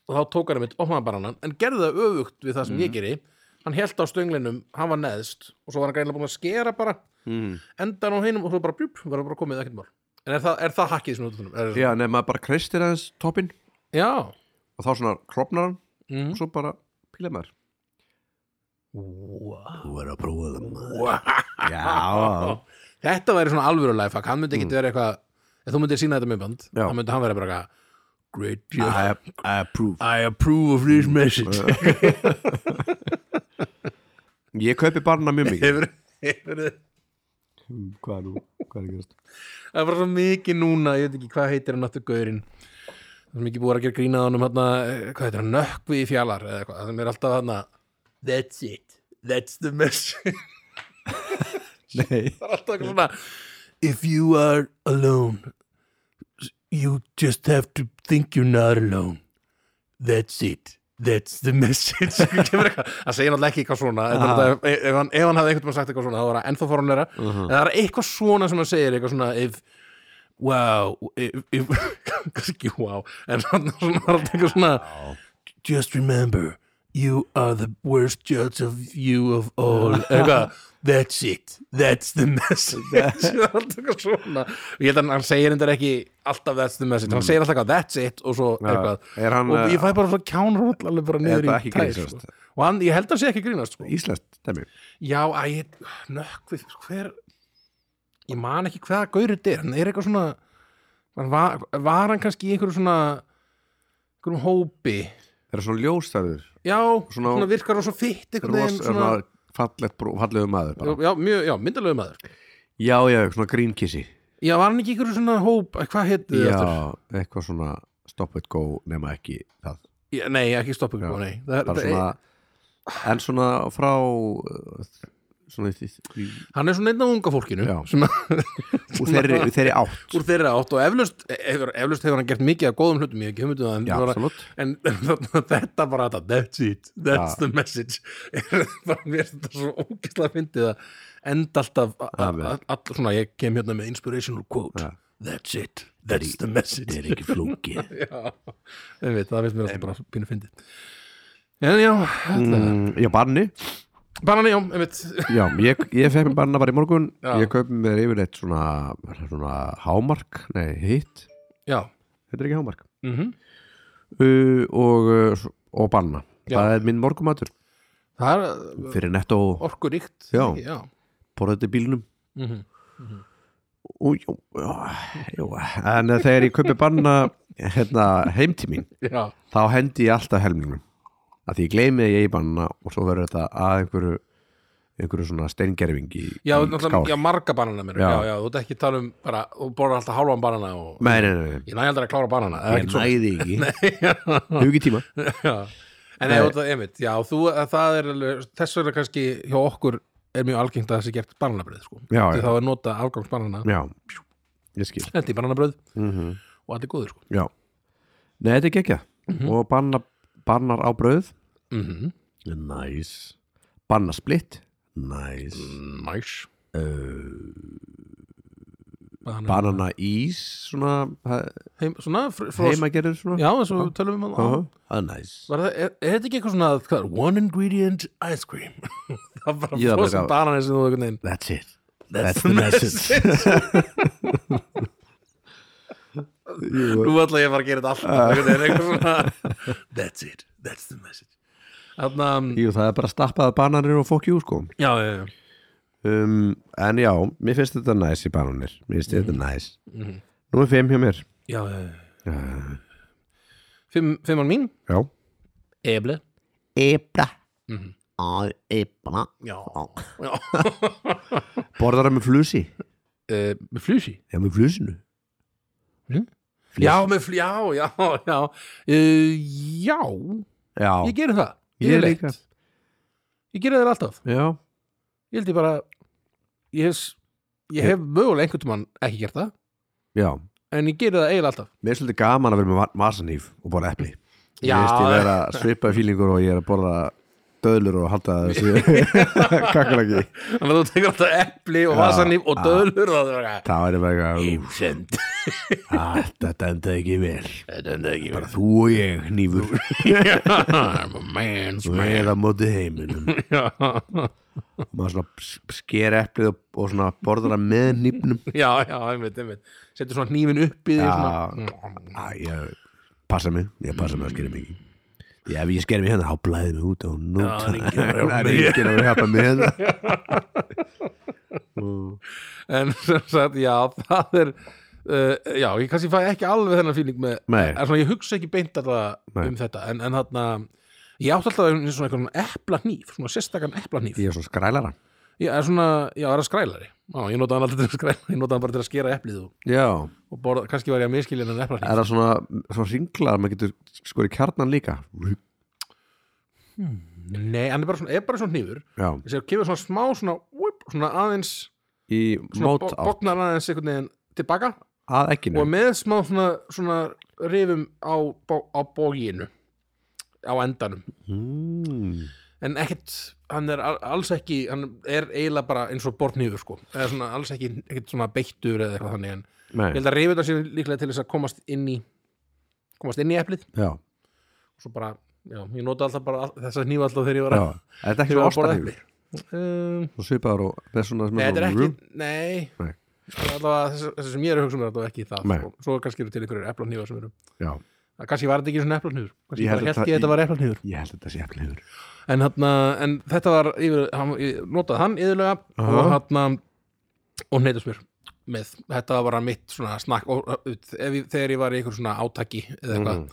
og þá tók hann mitt opnaði bara hann en gerði það öfugt við það sem Mhm. ég geri hann held á stönglinum, hann var neðst og svo var hann greinlega búin að skera bara mm. endan á hinum og svo bara bjúp, var það bara komið ekkert mál en er það, er það hakkið sem þú tónum? um? Er, Já, nefnum maður bara kreistir aðeins toppinn já, og þá svona klopnar hann mm. og svo bara píla maður wow. Þú er að prófa það maður Wow. Já, Þetta væri svona alvöru lifehack, hann myndi ekki vera eitthvað ef þú myndir sína þetta með band, Mm. Já. þá myndi hann vera bara eitthvað Great job, I, Uh. I approve I approve of this message <laughs> Ég kaupi barna mjög mikið Hefur, hefur Mm, Hvað er nú? Hvað er að gerast? Það var svo mikið núna, ég veit ekki hvað heitir hann aftur gaurinn Það er mikið búið að gera grínað honum hann hvað heitir hann, nökkvi í fjalar eða eitthvað, það er alltaf hérna, hann That's it, that's the message <laughs> Nei Það er alltaf eitthvað svona If you are <laughs> alone You just have to think you're not alone That's it That's the <laughs> message Það segir náttúrulega ekki eitthvað svona Þetta er náttúrulega- eh, ef, ef, hann, ef hann hafði eitthvað sagt eitthvað svona þá var það ennþá forunleira Uh-huh. En það er eitthvað svona sem hann segir eitthvað svona If Wow if, if, <laughs> Kannski ekki wow En svona, svona, það er alltaf eitthvað svona Just remember You are the worst judge of you of <laughs> all Eitthvað That's it, that's the message <laughs> Það er alltaf eitthvað svona Ég held að hann segir þetta ekki alltaf that's the message Hann segir alltaf eitthvað that's it og svo eitthvað Er Mm. hann Og eh, ég fæ bara svona kjánróll alveg bara niður þetta í ekki tær grínast? sko. Og hann, ég held að hann sé ekki að grínast sko. íslenskt, dæmi? Já, að ég, nökkvið, hver Ég man ekki hvaða gaurið er Hann er eitthvað svona hann var, var hann kannski í einhverju svona einhverjum hópi Það eru svona ljóstæður já, svona, Svona- virkar og svo fitt einhvern Svona, veginn svona svona, fallegt, brú- fallegur maður bara. já, mjög, já, myndalegu maður Já, já, svona grínkissi já, var hann ekki einhverjum svona hóp eh, hvað hétt þið aftur? Já, eitthvað svona stop it go nema ekki það Já, nei, ekki stoppa ykkur, nei það, Bara það, svona, En svona frá uh, svona í, í, hann er svona einn af unga fólkinu <laughs> Já. sem, úr þeirri, úr þeirri átt úr þeirra átt og eflaust, efur, eflaust hefur hann gert mikið af góðum hlutum, ég hef ekki hugmynd um það en Já, bara- absolutt en <laughs> þetta bara þetta, that's it, that's Já. the message <laughs> er bara mér þetta svo ógeðslega fyndið að enda alltaf a- a- Amen. a- all svona, ég kem hérna með inspirational quote, Já. that's it that's the message er ekki flókið <laughs> já, en veit, það veist mér alltaf bara pínu fyndið en já, mm. mm, Já, barni banani, já, en veit Já, ég, ég fekk mér barna bara í morgun Já. Ég kaupi mér yfirleitt svona, svona hámark, nei, hitt já, Þetta er ekki hámark mhm uh, og, uh, s- og banna Já. Það er minn morgumatur það er fyrir netto orkuríkt Já. já. borðið í bílnum Mm og jú, já, jú, en eh, þegar ég kaupi banna hérna, heim til mín já, þá hendi ég alltaf helmingnum að því ég gleymi að ég eigi banna og svo verður þetta að einhverju einhverju svona steingerfing í, já, í náttúrulega skál já, marga banana mér, já. Já. já, þú ert ekki að tala um bara, þú borðar alltaf hálfan banana og Nei, nei, nei, nei, ég næ aldrei að klára banana það er ég ekkert svo- næði ekki Hefur ekki tíma <laughs> Já. En Nei. ég, það, einmitt, já, þú, að það er alveg, þess vegna kannski hjá okkur er mjög algengt að þessi gert bananabröð sko. Já, því já. þá er nota afgangsbanana Já, ég skil þetta í bananabröð mm og allt er góður sko. Já, nei, þetta er gekkja Mhm. og banna, bannar á brauð mm -hmm. Nice Banna splitt Nice Næs Banana. Banana ís svona Heim, Svona fr- frós heimagerður svona Já, þess að við tölum um að Aha, Það er næs Var það, er, er þetta ekki eitthvað svona hvað, er, one ingredient ice cream <laughs> það var bara Ég þarf frosin að- banana sem þú einhvern veginn That's it That's the Nú ætla ég bara að gera þetta alltaf einhvern veginn, eitthvað svona, <laughs> That's it, that's the message Þannig að Jú, það er bara að stappaða bananir og fokkjú sko Já, já, já um, En já, mér finnst þetta næs í bananir Mér finnst þetta næs Númer 5 hjá mér Já, já, já Fimm, Fimman mín Já Eble Ebla Á, ebla Já, já Borðar það með flusi Eh, Með flusi Já, með flusinu Hm? Flus. Já, með flusi, já, já, já Eh, Já, Já ég gerir það Ég Yfirleitt. líka. Ég gerir það alltaf Já Ég held ég bara Ég hef, ég hef mögulega einhvern tímann ekki gert það Já En ég gerir það eiginlega alltaf Mér er svolítið gaman að vera með va- vasanýf og borða epli Já. Ég veist ég vera svipað fílingur og ég er að borða döðlur og halda þessu <laughs> kakkalaki Þannig að þú tekur alltaf epli og Já, vasanýf og já. döðlur <laughs> og það er bara Það er bara eitthvað Heimsend <laughs> "Ah, Þetta endaði ekki vel Þetta er ekki Bara þú og ég nýfur <laughs> I'm a man's og ég er að móti heiminum Já, og maður svona ps- sker eplið og, og svona borðar það með nýfnum já, já, einmitt, einmitt Setur svona hnífin upp í því Já. svona. Æ, ég passa mig, ég passa mig að skera mig ekki Já, ef ég skera mig hérna, þá blæði mig út og nú Já, það er enginn að <laughs> Það hjálpa er mér. enginn að hjálpa mig <laughs> hérna En sem sagt, já, það er uh, Já, ég kannski fæ ekki alveg þennan fíling með Nei. er svona, Ég hugsa ekki beint alltaf Nei. um þetta En, en þarna Ég átti alltaf einu svona einhvern eplahníf Svona sérstakann eplahníf Ég er svona skrælara Ég er svona, já, er að skrælari Já, ég notaði hann aldrei til að skræla Ég notaði hann bara til að skera eplið og, Já, og borða, kannski var ég að miskilja en eplahníf er það svona, svona ringlar maður getur skorið kjarnan líka Ah. Nei, hann er bara svona, er bara svona hnífur Já, Þessi kemur svona smá svona, whip, svona aðeins í svona mót bo- á bognar aðeins einhvern veginn tilbaka að og ekkinu með smá svona, svona rifum á, bo- á bóginu á endanum mm. en ekkert, hann er al- alls ekki hann er eiginlega bara eins og bortnýður sko eða svona alls ekki, ekkert svona beittur eða eitthvað þannig en ég Nei, held að rifuna séu líklega til þess að komast inn í komast inn í eplið já, og svo bara, já, ég nota alltaf bara all- þessa hnífa alltaf þegar ég var já að, Er þetta ekki þegar ég svona var að borða ástafífur? eplið um, Svo svipaður og með svona sem Nei, þetta er svona- ekki, nei, Nei. allavega þessu, þessu sem ég er að hugsa um er allavega ekki það Nei. sko. svo kannski eru til einhverjur eplanhýður sem eru Já, að kannski var þetta ekki svona eplanhýður kannski ég Ég held bara að held það- ég að þetta ég- var eplanhýður ég held að þetta sé efniður en, þarna, en þetta var, yfir, hann, ég notaði hann yðurlega Aha. og hann og neytast mér með, Mm. þetta var bara mitt svona snakk og, uh, ef, ég- þegar ég var í einhver svona átaki eða eitthvað,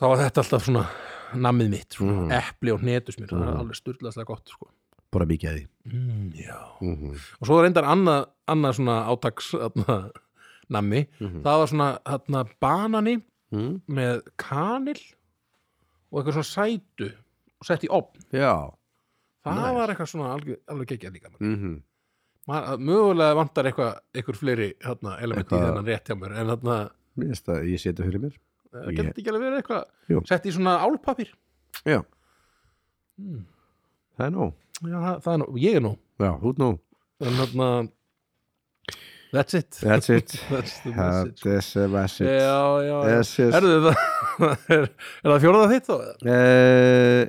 þá var þetta alltaf svona namið mitt, svona Mm. epli og hnetusmjör það er Mm. alveg styrlaðslega gott sko. bara mikið að því mm, já mm -hmm. og svo er reyndar annað, annað svona átaks atna, nammi, Mhm. það var svona atna, banani Mm. með kanil og eitthvað svona sætu og sett í opn, já það Nice. var eitthvað svona alveg, alveg geggjað líka mm Maður, mögulega vantar eitthvað, eitthvað fleiri hana, element í Eitthvað- þennan rétt hjá mér en þarna, mér finnst að ég setja fyrir mér það Ég- geti ekki alveg verið eitthvað Jú. sett í svona álpapir já, mm. það er nóg já, það, það er nú, ég er nú já, út nóg, en þarna that's it that's it <laughs> that's the message that's the já, message já, já. yes, yes. Erðu það er, er það fjórða þitt þá? Eh,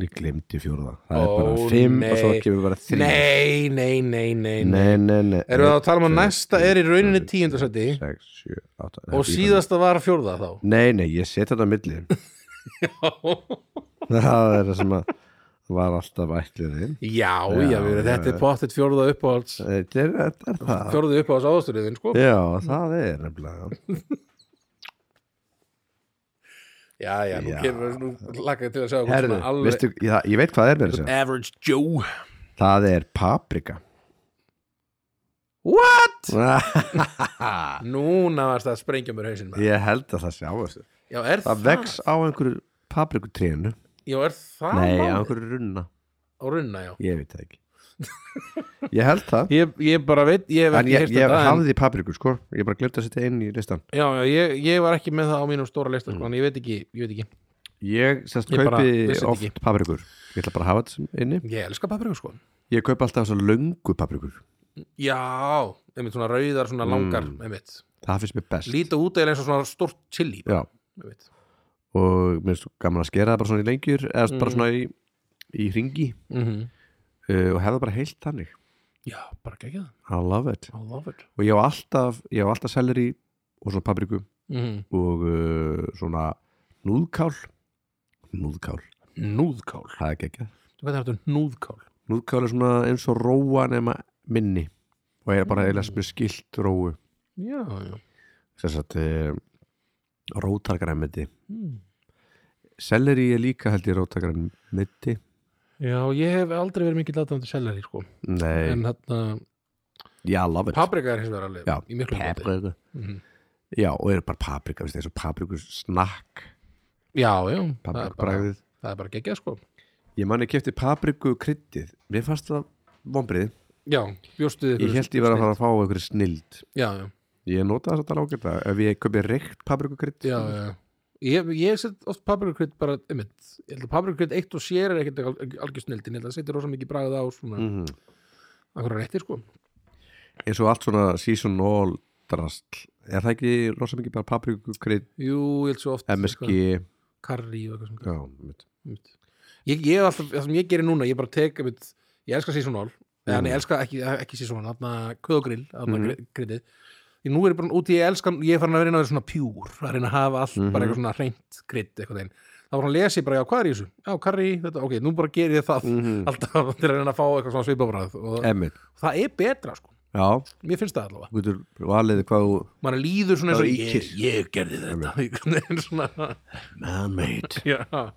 ég glemdi fjóruða það er Ó, bara fimm og svo nei. kemur bara þrý Nei, nei, nei, nei, nei. nei, nei, nei Erum við að tala um að Einn, næsta tveir, er í rauninni fjórir, tíunda sæti? sex, sjö, átta Og síðasta var fjórða þá nei, nei, ég setja þetta á milli <laughs> það er það sem að var alltaf ætliðin Já, Já, já, já, já, þetta já. er pottet fjórða uppáhalds Eh, þetta er, þetta er það Fjórða uppáhalds áðasturiðin, sko já, það er nefnilega Já, já, nú Já. kemur nú lakka ég til að sjá hvort Herðu, svona alveg- veistu, ég, ég veit hvað það er með þessu Average Joe Það er <laughs> paprika What? Núna varst það að sprengja mér hausinn maður. Ég held að það sé á þessu Já, er Það það? vex á einhverju paprikutrénu Já, er það? Nei, á málið? einhverju runna Á runna, já Ég veit það <laughs> ekki Ég held það Ég, ég bara veit, ég hef En ekki ég, heyrt ég þetta en- hafði papriku sko Ég bara glemt að setja inn í listan Já, já, ég, ég var ekki með það á mínum stóra lista sko, en ég veit ekki, ég veit ekki Ég sérst Ég bara kaupi vissi þetta oft ekki. paprikur Ég ætla bara að hafa þetta sem inni Ég elska papriku sko Ég kaupi alltaf þessar löngu paprikur Já, einmitt svona rauðar, svona Mm. langar einmitt. Það finnst mér best Líta út eða eins og svona stórt chili Já, einmitt. og mér finnst gaman að skera það bara svona í lengjur Eða Mm. bara svona í, í ringi Mhm. uh, Og hefða bara heilt þannig Já, bara ekki það I love it I love it og ég á alltaf, ég á alltaf selleri og svona papriku mm. og uh, svona núðkál núðkál, Núðkál það er Hvað ekki er þetta núðkál? núðkál er svona eins og róa nema minni og ég er bara Mm. eiginlega sem er skilt róu Já, já þess að uh, rótargræmiti mm. selleri er líka held ég rótargræmiti Já, ég hef aldrei verið mikið látandi selleri sko nei, En þarna, já, love it paprika er hins vegar alveg já, í miklu bóti paprika Mhm. já, og eru bara paprika, veist, þessu paprikus snakk, Já, já, það er, bara, paprikubræðið það er bara geggjað sko ég man ekki eftir papriku kryddið mér fannst það vombrið Já, bjóstuði Ég held ég var að fara að fá einhverju snild Já, já, Ég nota þess að tala ágæta Ef ég köpi reykt paprikukrydd já, já. Ég, ég set oft paprikakrydd bara, einmitt, ég held að paprikakrydd eitt og sér er ekkert alg- algjör snildin, ég held að setja rosa mikið bragð á svona, mm. Mhm. akkur réttir sko. Eins og allt svona seasonal drastl Er það ekki rosa mikið bara paprikukrydd Jú, ég held svo oft MSG eitthvað Já, Karrí og eitthvað svona. einmitt. Einmitt. Ég, ég hef alltaf, það sem ég gerir núna, ég bara tek, einmitt, ég elska seasonal, mm. en ég elska ekki, ekki seasonal, þarna köðugrill, þarna Mhm. mm. kryddið. Því nú er ég bara út í, ég elska, ég er farin að reyna að vera svona pjúr, að reyna að hafa allt, Mhm. bara eitthvað svona hreint krydd, eitthvað einn. Þá var hann að lesa ég bara, já, hvað er í þessu? Já, karrí, þetta, ok, nú bara gerir ég það. <laughs> Mhm. alltaf til að reyna að fá eitthvað svona svipabræð og Einmitt. það er betra sko Já, mér finnst það allavega, þú getur valið hvað þú maður líður svona eins Það og ríkir. ég, ég gerði þetta einhvern veginn <laughs> svona, Man-made já,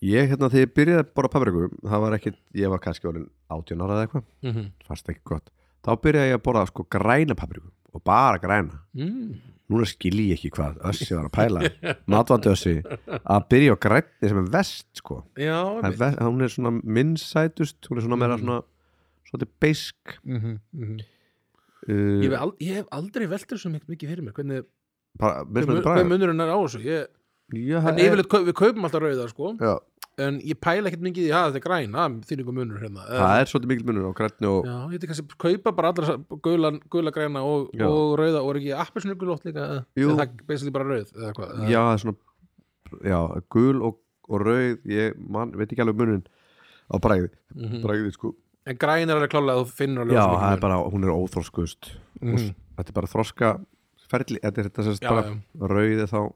Ég hérna þegar ég byrjaði að bora papriku Það var ekkit, ég var kannski orðin 18 ára eða eitthvað mhm, Fannst ekki gott Þá byrjaði ég að bora sko græna papriku Og bara græna mm. núna skil ég ekki hvað Össi var að pæla matvandi Össi að byrja á grænni sem er vest sko já einmitt. Það er Mm. vest, hún er svona minnsætust hún er svona meira svona svolítið beisk Mhm, mhm. ég uh, hef ald- ég hef aldrei veldur svo mikið mikið fyrir mér hvernig, bara, mismunandi hvað bragð. munurinn er á þessu ég, Já, en það er- yfirleitt, kaup- við kaupum alltaf rauða sko, já, en ég pæla ekkert mikið í að þetta er græn, að þýr ykkur munur hérna það er svolítið mikil munur á grænni og já, ég þetta kannski kaupa bara allra gula, gula græna og, Já. og rauða og er ekki appelsinugulótt líka, eða- Jú. eða það er basically bara rauð eða hvað, eða- já, það er svona já, gul og, og rauð ég man, veit ekki alveg munin á bræði, Mhm. bræði sko En græn er alveg klálega að þú finnur alveg já, rosa mikið það er mun. bara, hún er óþróskust Mhm. þetta er bara þroska ferli, þetta er þetta sérst Já, bara já. rauð er þá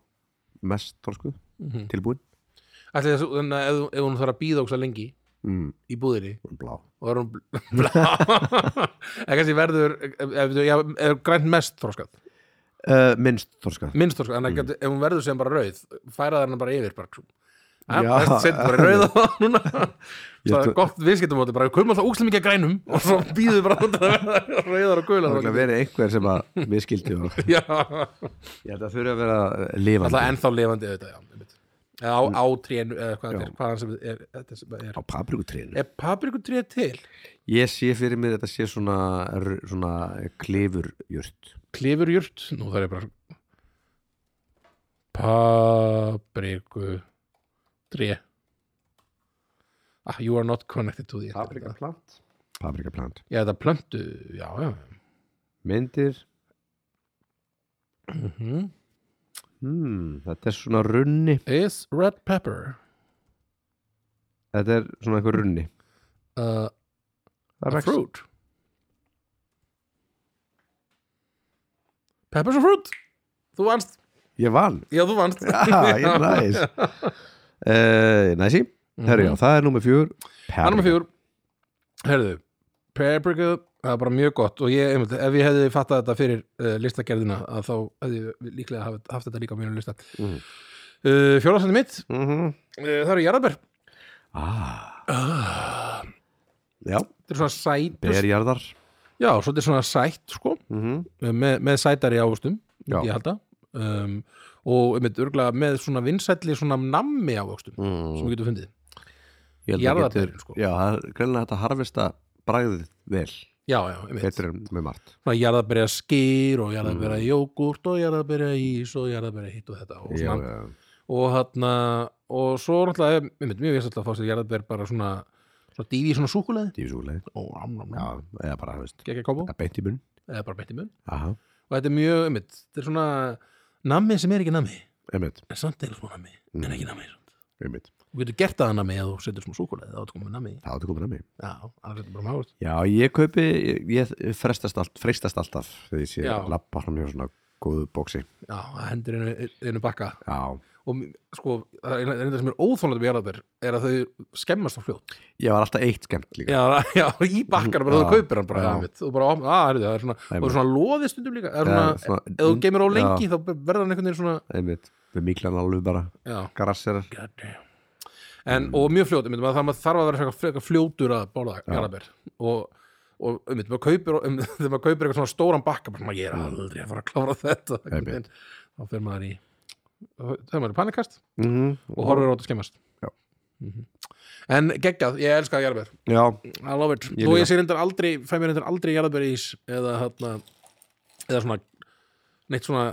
mest þroskuð Mhm. tilbúin Ætli þessu, þannig að ef, þú- ef hún þarf að býða ógsa lengi mm, í búðinni blá og er hún bl- <laughs> <laughs> blá en kannski verður ef, ef, ef, ef grænt mest þróskað uh, minnst þorska minnst þorska, Mm. þannig að ef hún verður sem bara rauð færa þarna bara yfir bara, Já. ja, setjum bara rauð á það <laughs> núna það er trú- gott viðskiptumóti bara kumum alltaf úkslega mikið af grænum og svo býður bara út að verða <laughs> rauðar og gular Það er verið einhver sem að miskildi og <laughs> já, alltaf ég held að þurfi að vera lifandi ennþá lifandi auðvitað já, einmitt. eða á, á trénu eða hvað þetta Mm. Já. er, hvaðan sem er, þetta sem er. á paprikutrénu. er paprikutré til? Ég sé fyrir mig þetta sé svona, r- svona klifurjurt. klifurjurt nú þarf ég bara papriku dré ah, you are not connected to the internet. Paprikaplant. Paprikaplant. já þetta plöntu já, já. Myndir. Mm Mhm. Hmm, þetta er svona runni. is red pepper Þetta er svona eitthvað runni. uh, Það a vex. fruit peppers a fruit þú vannst, Ég vann. já þú vannst <laughs> Já, ég er næs. Uh, næsi. Herru, já, það er nummer fjör. Hann nummer fjör Herðu, paprika það er bara mjög gott og ég, einmitt, ef ég hefði fattað þetta fyrir uh, listagerðina að þá hefði ég líklega haft, haft þetta líka á mínum lista mm. Mhm. uh, Fjólasandi mitt, Mm -hmm. uh, það eru jarðaber Ah. Já, þetta er svona sæt berjarðar. Já, svo þetta er svona sætt sko Mm með, með sætari ávöxtum, Já. myndi ég halda um, og einmitt örgulega með svona vinsælli svona nammi ávöxtum Mm. sem þú getur fundið Ég held að Jarðarberin, getur- sko. Já, það er greinlega hægt að harfesta bragðið vel Já, já, einmitt betur en með margt svona jarðaberja skýr og jarðaberja jógurt og jarðaberja ís og jarðaberja hitt og þetta og, Mm. já, svona, já. og hann og svo er alltaf, ég mynd mjög veist alltaf að fá sér jarðaber bara svona, svona dýfi í svona súkuleði Dífisúlega og am, am, Já, am, eða bara, þú veist, gekk að kópa að beint í mun eða bara beitt í mun Aha, og þetta er mjög, ég mynd, þetta er svona nammi sem er ekki nammi, einmitt, en samt er svona nammi en ekki nammi samt. einmitt þú getur gert það að nammi eða þú setur svona súkuleði þá ertu komið með nammi, Það áttu komin að mig já, það setur bara mágur Já, ég kaupi, ég- ég frestast allt, freistast alltaf þegar ég sé Já. lappa fram hjá svona góðu bóksi já, það hendur einu, einu bakka Já, og sko, það er einu sem er óþónlega við jarðaber er að þau skemmast á fljótt ég var alltaf eitt skemmt líka já, já, í bakkanum bara Já, þú kaupir hann bara, já. einmitt, og bara, á- að, heyrðu, það er svona og það er svona loðið stundum líka það er Já, svona, svona- ef þú geymir á lengi þá verður hann einhvern veginn svona Einmitt, við miklan alveg bara já, garasserar god damn en, og mjög fljót, einmitt, maður- það maður þarf að vera frekar- frekar fljótur að borða jarðabær og, og einmitt, <laughs> maður kaupir um, þegar maður kaupir eitthvað svona stóran bakka bara, svona, ég er aldrei að fara að klára þetta einhvern Mm. Einmitt. veginn. þá fer maður í þá er maður í panikast mm og horfir á þetta skemmast Já. Mhm. en geggjað, ég elska jarðabær Já, I love it Ég Þó ég líka. sé reyndar aldrei, fæ mér reyndar aldrei jarðabæriís eða hérna eða svona neitt svona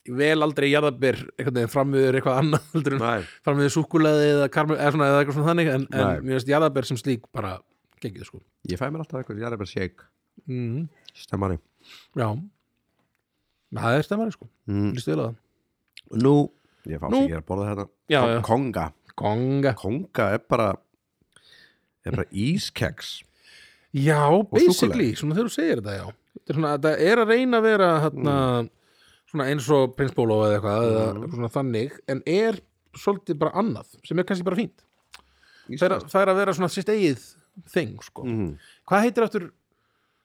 ég vel aldrei jarðabær einhvern veginn framviður eitthvað annað <laughs> heldur en næ framviður súkkulaði eða karmel eða svona eða eitthvað svona þannig en, en Nei. mér finnst jarðabær sem slík bara gengið sko Ég fæ mér alltaf eitthvað, ég er bara shake Mhm. mm, Stemmari Já Það er stemmari sko, mm. lístu vel að það Nú, ég fá Nú. sér að borða þetta Já, Kon- hérna. já. Konga Konga konga er bara er bara ískeks Já, basically, svona þegar þú segir þetta já Þetta er, svona, þetta er að reyna að vera hérna, Mm. svona eins og Prins Bóló eða eitthvað, eða eitthvað svona þannig en er svolítið bara annað sem er kannski bara fínt það er, það er að vera svona sitt eigið þing sko. mm. hvað heitir eftir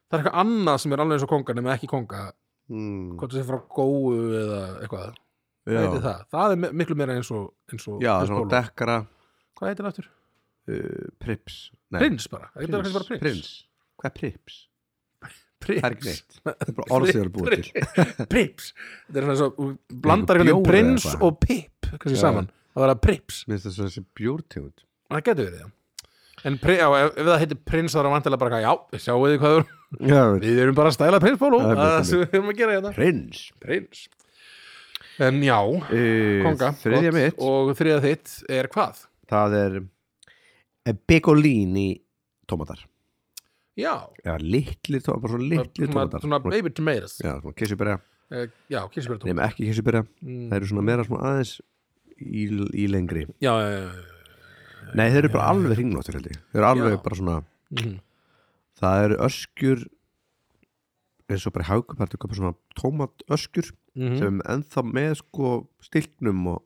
það er eitthvað annað sem er alveg eins og konga nema ekki konga, Mm. hvort það sé frá góu eða eitthvað, hvað heitir já, það það er me- miklu meira eins og, eins og já Prins svona Bóló, dekkara hvað heitir eftir? uh, prips Nei, Prins bara, það heitir kannski bara prins prins. hvað er prips? það er ekki prins, neitt það er bara orð sem eru búið til <laughs> prips þetta er svona svo, þú blandar Einhver einhvern veginn bjór eða prins eitthvað. og pip kannski Já. saman, það verða prips minnst það svo þessi bjórtegund það getur verið það en pri, já, ef, ef það heitir prins þá er það vantilega bara eitthvað, já, sjáu þið hvað við erum- já, við erum bara að stæla prins bólu Það er það er mjög það sem við erum að gera þetta prins prins en já, uh, konga þriðja gott. mitt Eh, og þriðja þitt er hvað? það er eh, begolini tómatar já, já, litlir tómatar bara svona litlir svona, tómatar svona baby tomatoes já, svona kissubyrja Eh, já, kísbjörn nema ekki kissubyrja Mm. það eru svona meira svona aðeins í, í lengri já, já, já, já. Nei, þeir eru bara alveg hringlóttir held ég Þeir eru alveg Já. bara svona Mhm. Það eru öskjur eins og bara haugum Það eru svona tómat öskjur Mhm. sem er ennþá með sko stilknum og,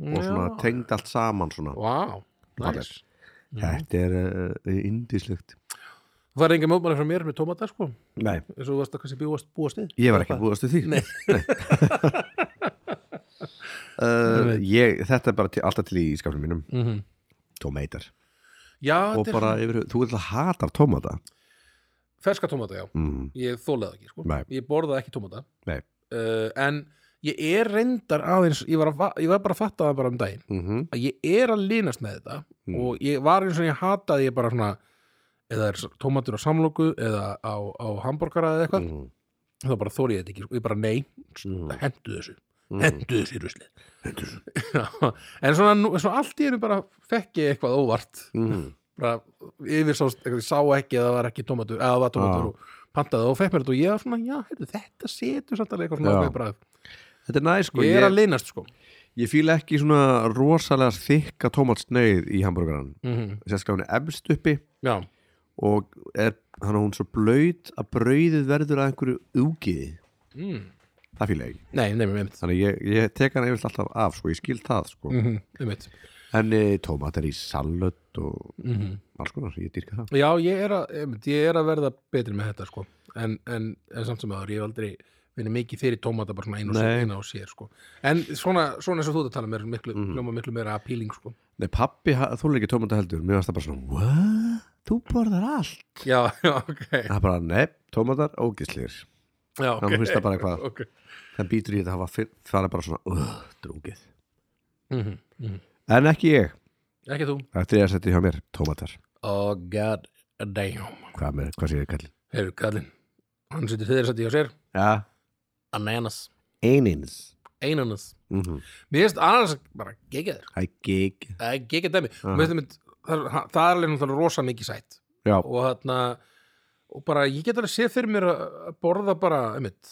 og svona Já. tengd allt saman svona Vá, Falleg. nice. eh, Þetta er uh, indislegt Það er enga mótmæli frá mér með tómata sko Nei, eins og þú varst að kannski búast, búast við ég var ekki að búast við því Nei. <laughs> uh, ég, Þetta er bara til, alltaf til í skapnum mínum mm -hmm. Tómeitar Já, Og þetta er bara yfir, þú vil að hatar tómata ferska tómata, já mm, Ég þólaði það ekki sko Nei. Ég borðaði ekki tómata Nei. uh, En ég er reyndar aðeins ég var, að, fa- ég var bara að fatta það bara um daginn mm að ég er að linast með þetta Mm. og ég var eins og ég hataði ég bara svona eða er tómatur á samlóku eða á, á hambúrgara eða eitthvað mm, þá bara þóri ég þetta ekki, sko. ég bara nei mm, hendu þessu, mm. hendu þessu í ruslið en svona, nú- svona allt í einu bara fekk ég eitthvað óvart Mm. bara yfir sást, eitthvað, ég sá ekki að það var ekki tómatur, eða það var tómatur Já. og pantaði og fekk mér þetta og ég var svona, já, heyrðu, þetta setur samt alveg eitthvað svona Já. ákveðið bragð. Þetta er næs sko ég er að Ég, linast sko ég fíla ekki svona rosalega þykka tómatsnauð í hambúrgaran Mhm. Sérstaklega hún er efst uppi já, og er hann hún svo blöyt að brauðið verður að einhverju úgiði mm. Hmm. það fíla ég ekki nei, nei, með mitt þannig ég, ég tek hann yfirlega alltaf af sko, ég skil það sko mm. með mitt en e, tómatar í salöt og alls konar, ég dýrka það Já, ég er, að, einmitt, ég er að verða betri með þetta sko. en, en, en samt sem aður ég hef aldrei vinni mikið fyrir tómata bara svona einu og Nei. sér, einu og sér sko. en svona, svona eins og þú ert að tala mér miklu, mm. Mhm. hljóma miklu meira appealing sko. Nei, pappi þólar ekki tómata heldur mér varst það bara svona, what? Þú borðar allt Já, <laughs> já, ok, Það er bara, nei, tómatar ógislir já, ok. Hann finnst það bara eitthvað. okay. Það býtur í þetta, það var fyrr- það er bara svona "Ugh, drúgið Mm -hmm. Mm En ekki ég, Ekki þú þetta er að setja hjá mér tómatar Oh god damn Hvað, með, hvað séu ég kallin? Heyrðu, kallinn, hann situr þeirra sætti hjá sér Ja, Ananas, einins einanas mm Mér finnst ananas bara geggjaður Það er gig Það er geggjaður dæmi Aha. Mér finnst einmitt- það er- það er alveg náttúrulega rosa mikið sætt Já, og þarna og bara ég get alveg séð fyrir mér að að borða bara einmitt,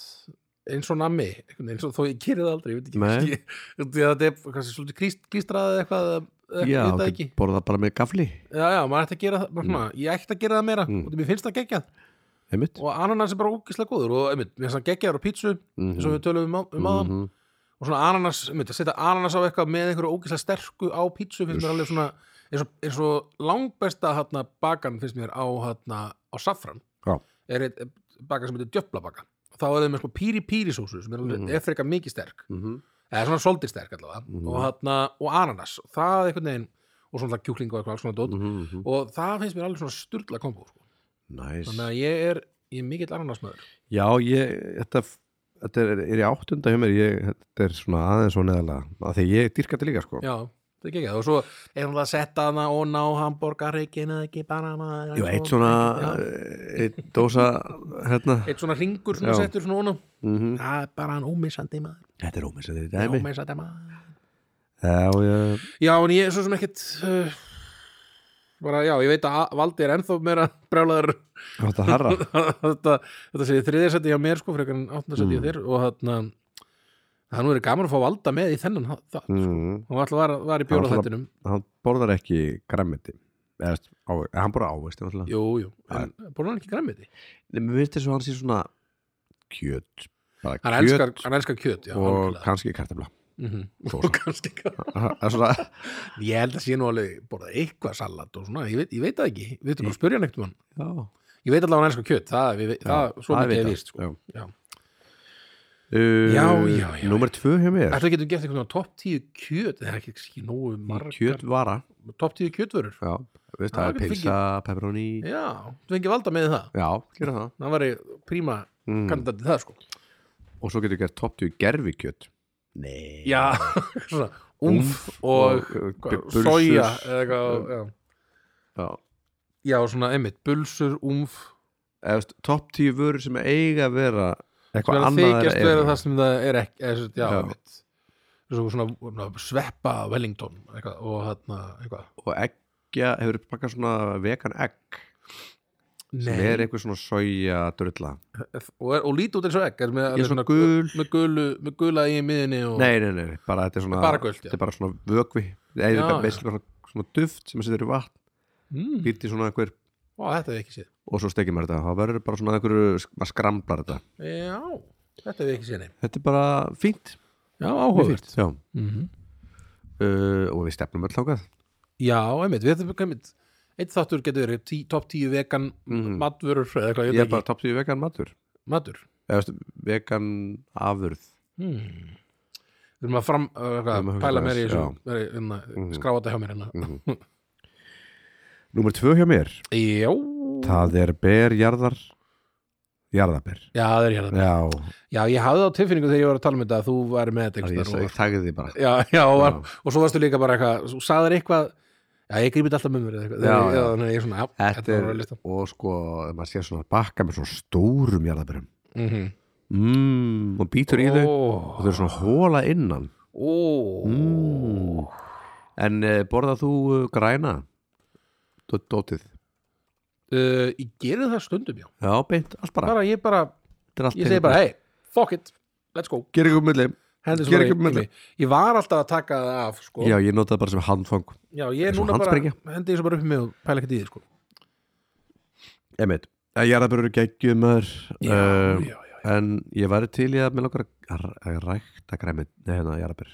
eins og nammi einhvern veginn, eins og þó ég kýri það aldrei ég veit ekki, Nei. kannski, því að þetta er kannski svolítið klíst, klístraðið eitthvað eða- eða- já ég veit þú það getur ekki borðað bara með gafli já, já, maður ætti að gera það maður, svona, ég ætti að gera það meira, Mm. og mér finnst það geggjað Einmitt og ananas er bara ógislega góður og einmitt, mér finnst það geggjaður á pítsu mm eins og við tölum um, á- um aðan -hmm. og svona ananas, einmitt, að setja ananas á eitthvað með einhverju ógislega sterku á pítsu finnst mér alveg svona eins og, eins og langbesta hana, bakan finnst mér á, hana, á safran Já. er eitt baka sem heitir djöflabaka og þá er þeim með sko píri píri sósu sem er alveg mm Mhm. -hmm. efrika mikið sterk Mm -hmm. eða svona soldið sterk allavega Mhm. og, hana, og ananas og það einhvern veginn og svona kjúkling og eitthvað alls svona dót Mm -hmm. og það finnst mér alveg svona sturla kombo sko. Næs þannig að ég er, ég er mikill ananasmaður Já, ég, þetta, þetta er, er í áttunda hjá mér ég, Þetta er svona aðeins og neðalega að Því ég dýrka þetta líka sko já, það er ekki og svo er hún að setja hana og ná hambúrgarreikin eða ekki banana Jú, eitt Já. svona, eh, eitt dósa hérna eitt svona ringur svona Já. settur svona honum mm það er bara hann ómissandi maður Þetta er ómissandi dæmi ómissandi maður Já, já, já en ég er svo sem ekkit uh, bara já ég veit að Valdi er ennþá meira brjálaður þetta harra <laughs> þetta, þetta sé þriðja seti hjá mér sko frekar en áttunda seti hjá Mm. þér og þarna það er nú verið gaman að fá Valda með í þennan það, það mm. mm, hún alltaf var, var í Hann var bjóla þettinum Hann borðar ekki græmmiti Eða, á, hann borðar ávist Nei, jú jú en búin hann ekki græmið því mér finnst þess að hann sé svona kjöt bara hann kjöt elskar, hann elskar kjöt já, og algjörlega. kannski kartabla Mhm. sósa. og kannski <laughs> Það er svona, ég held að sé nú alveg borða eitthvað salat og svona ég veit, ég veit það ekki við veitum bara að spyrja hann eitthvað já, Ég veit allavega hann elskar kjöt, það, við, það svo það mikið er veit víst, sko. já. Já. Uh, Já, já, já. Númer tvö hjá mér Þetta getum gert einhvern veginn topp 10 kjöt, það er ekki, ekki nógu margar, Kjötvara topp 10 kjötvörur. já, Já, veist, Það er við pilsa, pepperoni Já, þú fengið valda með það. Já, gera það Það væri príma mm. mm. kandidat til það, sko. Og svo getur gert topp 10 gerfikjöt Nei Já, <laughs> svona, umf og, bu- og bulsur. soja, eða eitthvað, já. Já. Já, svona, einmitt, bulsur, umf, Eða, veist, Topp 10 vörur sem eiga að vera sem Eitthvað er að annað þykjast en vera eru. það sem það er ekki, eða, sem- já, Já. einmitt. Svo svona, svona sveppa Wellington, eitthvað, og hérna, eitthvað. Og eggja, hefur pakkað svona vegan egg sem er eitthvað svona soja drulla og, er, og líti út eins og egg er með, Ég alveg er svona gul. með, gulu, með gula í miðinni og Nei, nei, nei, bara þetta er svona Bara gult, já. Þetta er bara svona vökvi Eða Já, þetta já. er basically bara svona, svona duft sem að setja í vatn mm. býrti svona einhver Ó, þetta hef ég ekki séð og svo stekir maður þetta þá verður bara svona einhverju, maður skramblar þetta já, þetta hef ég ekki séð nei. þetta er bara fínt, já, mjög áhugavert fínt já. mm -hmm. uh, og við stefnum öll þákað já, einmitt, við þetta einmitt eitt þáttur getur verið tí, top 10 vegan Mhm. matvörur eða eitthvað, Ég ég er veit bara ekki, topp 10 vegan matur matur Eða veistu, vegan afurð hmm. við erum að fram uh, Við erum hvað, að pæla hugsa meir í aðeins, þessu já. meir í, hérna, Mhm. skráa þetta hjá mér hérna Númer 2 hjá mér já, Það er berjarðar Jarðaber já, það er hérna Já, já, ég hafði á tilfinningu þegar ég var að tala um þetta að þú væri með þetta það einhvers ég staðar og- sag- sagði því bara já, já, og, var, Já. og svo varstu líka bara eitthvað þú sagðir eitthvað, já, ég grípið alltaf með mér eða eitthvað, Já, Þegar ég- já. já, þannig að ég er svona, já, Þetta var á er, listanum. og sko, ef maður sé svona bakka með svona stórum jarðaberum Mhm. mm, og býtur í þau og þau Ó, eru svona hóla innan ó, mm. En uh, borðað þú uh, græna? Dó- Dótið Uh, ég gerir það stundum, já Já, beint, allt bara, bara, ég bara, ég segi bara, hey, fuck it let's go, Ger ekki um milli hendur Gera svo ekki um bara í- í mig. ég var alltaf að taka það af, sko Já, ég notaði bara sem handfang Já, ég er Eins og núna bara, handsprengja. hendi þessu bara upp í mig og pæla ekkert í því, sko Um, Einmitt, Eh, að jarðabörur geggjum maður Já, um, já, já, En ég væri til í að með langar að að rækta græmið Nei, hérna, jarðabör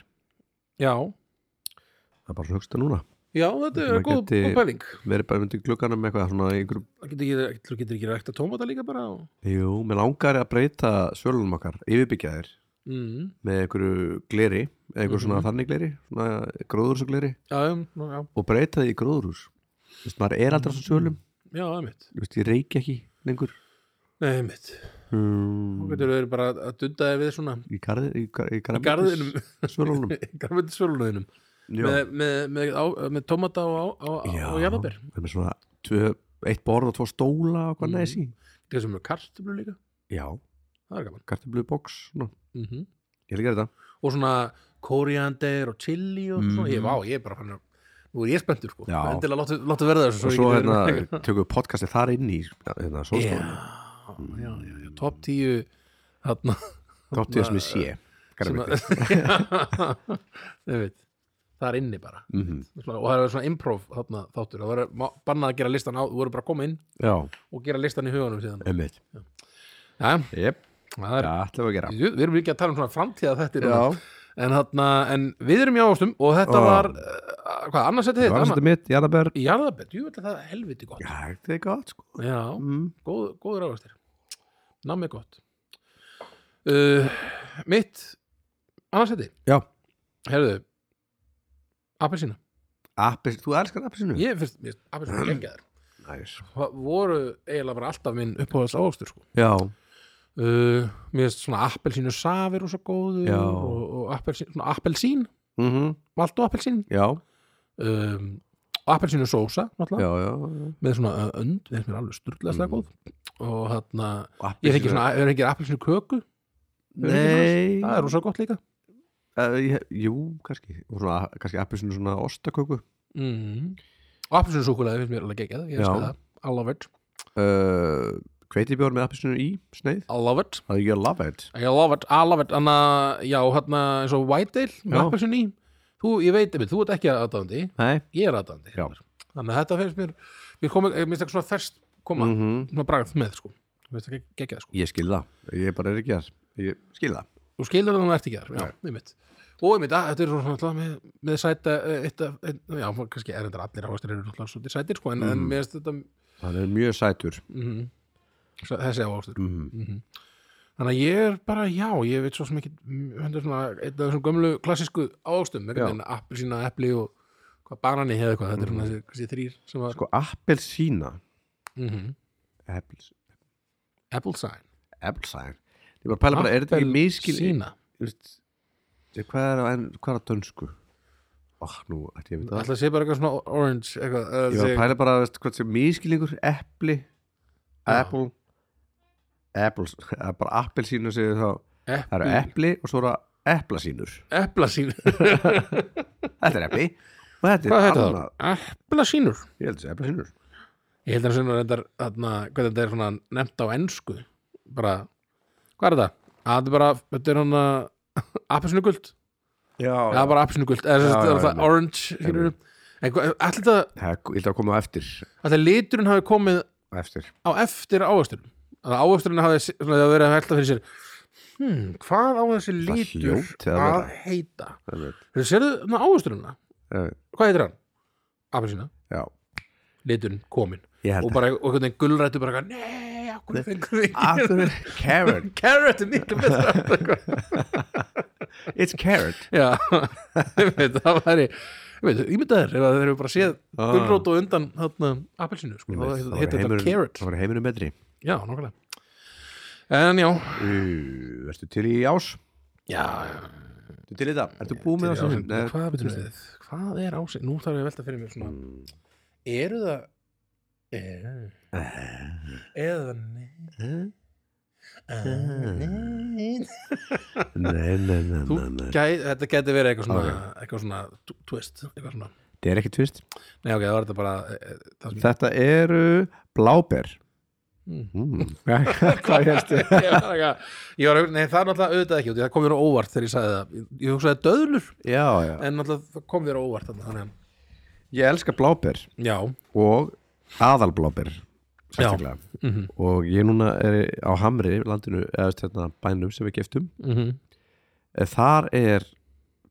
já Það er bara svona hugsta núna Já, þetta er Maður góð, geti- góð pæling Verið bara undir glugganum með eitthvað svona í einhverjum Það getur ekki, þú getur ekki rækta tómata líka bara og... Jú, mér langar að breyta svölunum okkar yfirbyggjaðir mm. með einhverju gleri eða einhverju svona Mhm. þannig gleri, svona gróðursugleri Já, um, nú, já, og breyta því í gróðurhús Vist, maður er aldrei á Mhm. svona svölum já, það er mitt Vist, ég reyki ekki lengur Nei, mitt, þú hmm. getur verið bara að dunda þig við svona <laughs> í, garði, í, gar, í í garðinum, <laughs> <laughs> svölunum í garðinum Já, með, með, með, á, með tómata og, á, á, Já. og jarðabær það er svona tvö, eitt borð og tvo stóla og hvað Mhm. mm. næs í Það sem er kartöflu líka, Já, það er gaman kartablu box svona. mm Ég líka þetta Og svona koriander og chili og svona, Mhm. ég, vá, ég er bara fann að Nú er ég spenntur, sko, Já. endilega láttu, láttu verða þessu Og ég svo geti verið með- hérna, tökum við podcastið þar inn í hérna, já, sólstofunni, já, já, já, top 10 þarna þátt ég sem ég sé sem Garðabæti. að- <laughs> Já, þau veit, það er inni bara Mhm. svona, og það er svona improv þarna þáttur það var má- bannað að gera listan á, þú voru bara að koma inn Já, og gera listan í huganum síðan emmitt ja, Jep, það er, það ætlum við að gera við erum ekki að tala um svona framtíða þetta en, þarna, en við erum í ástum og þetta Já. var uh, hvað, annars þetta Það var þitt þetta mitt, jarðabær jarðabett, jú ætla það er helviti gott Já, þetta er gott sko já, mm. góð, góður ávastir námið gott uh, mitt annars þetta Já, Herðu, appelsína appis, þú elskar appisinu Ég fyrst, mér finnst appelsína gengjaðar Næs Það voru eiginlega bara alltaf minn uppáðast ávöxtur sko. Já, uh, Mér finnst svona appelsínu safir og svo góður Já. og, og appelsín, svona appelsín mm Malt og appelsín já, um, og Appelsínu sósa já, náttúrulega, já með svona ö, önd Það er mér alveg sturglega Mm. góð og þarna, ég fengi svona, er ekki appelsínu köku Nei sko. Það er rosa gott líka uh, ég, Jú, kannski Og svona, kannski appisinu svona ostaköku mm. Og appelsínu súkulaði finnst mér alveg geggjað Ég Já. finnst það, I love it uh, Hveitibjór með appisinu í, sneið I love it Það er ég að love it I love it, I love it Þannig að, já, hérna, eins og White Ale með Já. appelsin í Þú, ég veit, einmitt, þú ert ekki aðdáðandi Nei Ég er aðdáðandi Já. Þannig að þetta finnst mér Mér komið, mér finnst ekki svona ferst koma mm Svona bragð með, sko Mér finnst ekki geggjað, sko Ég skil það, ég bara er ekki að Ég skil það Þú skilur það, þannig ert ekki þar, já, einmitt Og einmitt, að, þetta er svona náttúrulega með, með sæta eh, eitt, af- eitt, Já, kannski er þetta allir ávastir eru náttúrulega svolítið sætir, sko En, en Mhm. mér finnst þetta Hann er mjög sætur mm, Þessi ávastir mm. -hmm. Þannig að ég er bara, já, ég veit svo sem ekki hendur svona, einn af þessum gömlu klassísku ávöxtum, Já. Mhm. einhvern veginn appelsína, epli og hvað, banani eða eitthvað, þetta er svona þessi, þessi þrýr sem var, sko. Sko, appelsína mm Appels, Applesign, Appelsine Ég bara pæla bara, er þetta ekki miskil Appelsína. Þú veist, ég- hvað er á, en, hvað er á dönsku? Oh, nú, ætti ég að vita það Ætla að sé bara eitthvað svona orange, eitthvað, Ég eða var að þessi- pæla bara, veist, hvað sem miskilingur Epli, Já. apple Apples, <laughs> það er bara appelsínu segir þá, það eru epli, epli og svo eru eplasínur eplasín, Þetta er epli og þetta hvað er heitir það? Eplasínur. Ég held þessi eplasínur Ég held að það er þetta, þarna, hvað þetta er svona nefnt á ensku, bara, hvað er þetta? Að Þetta er bara, þetta er hann appelsínu guld. Já, Já, bara appelsínugult, eða sem Já, sagt, já, það er það já. orange skilur við. En hvað- ætli þetta, það er ylda að koma á eftir ætli liturinn hafi komið á eftir á eftir ávöxturinn Þannig að ávöxturinn hafi s- svona, hafi verið að velta fyrir sér hmm, hvað á þessi litur hljóti að að vera. heita Það er- Þeir sérðu þarna ávöxturinn Já. Hvað heitir hann? Appelsína Eh, Já, liturinn komin Ég held og bara, og hvernig gulrættu bara eitthvað, nei, okkur fengur við ekki <laughs> Aftur, Karen, Carrot er miklu betra eitthvað. it's carrot Já, ég veit, það væri ég veit, ímyndaður, ef að þeir eru bara séð Ah. gulrót og undan þarna appelsinu, sko, Ég veit, þá þá heitir var þetta heimurinn- carrot þá var heimurinn betri Já, nákvæmlega En já, Uh, Ertu til í ás? já, Ertu til í það? Ertu búið með já ásinn? Nei, hvað, betur, við, hvað er ásinn? Nú þarf ég að velta fyrir mér svona Eru það er, Eh. Eða nei Eh, Nei Nei, nei, nei, Þú nei, nei. gæ, þetta geti verið eitthvað svona, eitthvað svona tw- twist eitthvað svona. Það er ekki tvist Nei ok, það var þetta bara e, e, það <laughs> sem Þetta eru bláber Mm. mm. <laughs> Hvað hérstu? ég var eitthvað- ég var, nei, það er náttúrulega auðvitað ekki út í það kom þér á óvart þegar ég sagði það Ég- ég hugsaði döðlur Já, já en náttúrulega það kom þér á óvart þarna, þannig að Ég elska bláber já, og aðalbláber sérstaklega. mhm, og ég núna er á Hamri landinu, eða stjórna bænum sem við giftum mhm Eh, þar er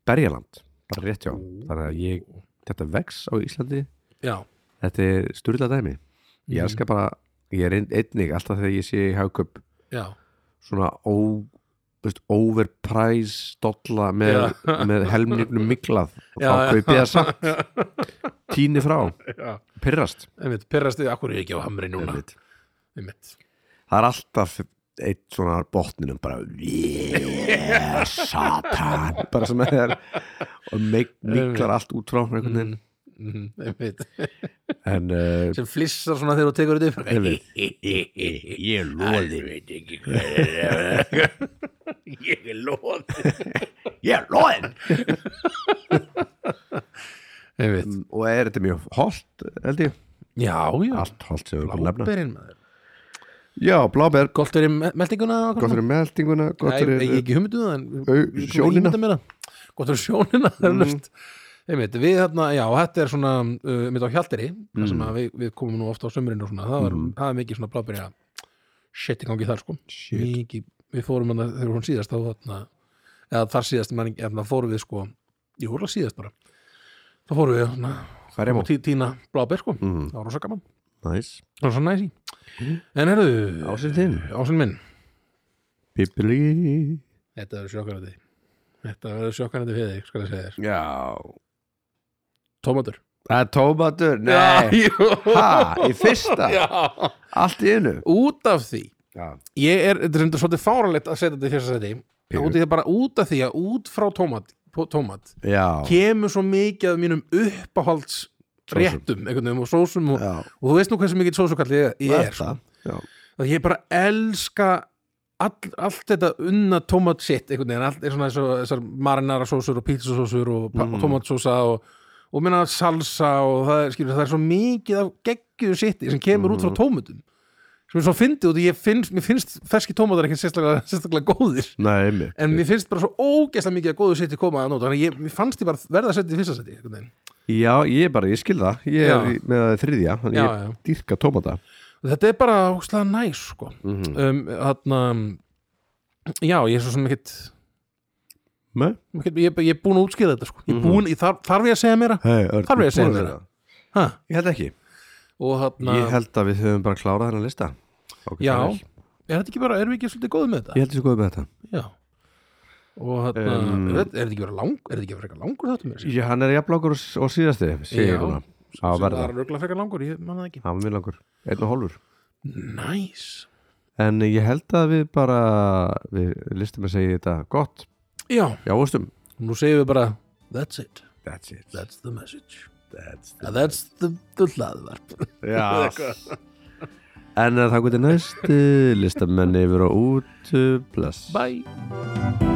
berjaland bara rétt hjá, þannig að ég þetta vex á Íslandi, já, Mhm. þetta er styrla dæmi ég elska bara, ég er ein- einnig alltaf þegar ég sé í haugköp já, svona ó, veist, overprice dolla með, <laughs> með helmingnum miklað og Já, þá já. kaupið það samt <laughs> tíni frá, já pyrrast einmitt, perrast þið, akkur er ég ekki á hamri núna Einmitt. einmitt, það er alltaf eitt svona botninum bara <laughs> yeah, satan bara sem er og meik- miklar allt út frá einhvern veginn mhm, einmitt en uh, sem flissar svona þegar þú tekur þetta upp Einmitt. <laughs> ég er <laughs> loði veit ekki hvað <laughs> ég er loði ég er loðin einmitt, Mm, og er þetta mjög holt held ég, já, já allt holt sem við erum búin að nefna bláberinn maður já, bláber, gott verið me- meltinguna og hvað gott fyrir meldinguna gott Nei, fyrir ég hef ekki hugmynduð það en Au, ég kom að sjónina. Mm. ímynda mér það. Gott fyrir sjónina <laughs> það er löst Einmitt, við þarna, já, þetta er svona uh, mitt á Hjaldari, það Mm. sem að við, við komum nú ofta á sömurinn og svona, það var, það er mikið svona blábyrja shit í gangi þar sko Shit. mikið, við fórum hann þegar hún síðast þá þarna, eða þar síðast mann, eða fórum við sko, jú, hún síðast bara þá fórum við svona, hvað er ég mó? tí, tína blábyr sko, Mm. það var rosa gaman næs, það var svo næsi, Mm. en herðu ásinn þinn ásinn minn pipili Þetta verður sjokkarandi Þetta verður sjokkarandi fyrir þig, skal ég segja þér já, Tómatur það er tómatur nei, jú ha, í fyrsta Já. allt í einu Út af því já, Ég er, þetta er reyndar svolítið fáralegt að setja þetta í fyrsta seti Pínu. Út af því að bara út af því að út frá tómat, pó- tómat já. Kemur svo mikið af mínum uppáhalds réttum, einhvern veginn, og sósum og, Já. og þú veist nú hversu mikið sósukall ég, ég er Þetta. sko. Já. að ég bara elska all, allt þetta unna tómat shit einhvern veginn, allt er svona eins og þessar marinara sósur og pítsasósur og mm. tómatsósa og, og minna salsa og það er, skilur, það er svo mikið af geggjuðu shiti sem kemur út frá tómutum sem er svo fyndið út, í- ég finnst, mér finnst ferski tómatar ekki sérstaklega, sérstaklega góðir Nei, einmitt. en mér finnst bara svo ógeðslega mikið að góðu shiti koma að nóta, þannig að ég mér fannst ég bara verða að setja í fyrsta seti einhvern veginn. Já, ég er bara, ég skil það Ég er Já. í- með þriðja, þannig Já, ég já. dýrka tómata þetta er bara ógstlega næs sko. um, þarna já, ég er svo sem ekkit Nei, ég, ég, ég er búin að útskýra þetta sko. ég búin, ég þarf, þarf ég að segja meira hey, Örn, Þarf ég að þú segja búin meira? það? ha, Ég held ekki og hérna- hann Ég held að við höfum bara klárað hennar lista Ágætlega já, vel. er þetta ekki bara, erum við ekki svolítið góð með Ég þetta held þessu góð með þetta já og hann, er, Um, þetta- er þetta ekki verið lang er þetta ekki verið langur þetta mér Já, hann er jafnlangur og, og síðasti Sér Já. ég núna Á að það verða, er röglega frekar langur, ég manna það ekki hann vil langur Einn og hálfur næs, En ég held að við bara Við listum að segja þetta gott já, Já, óstum nú segjum við bara that's it, That's it that's the message That's Now that's the, the hlaðvarp <laughs> Já En það gæti næst eh, Listamenn yfir og út eh, Bless bye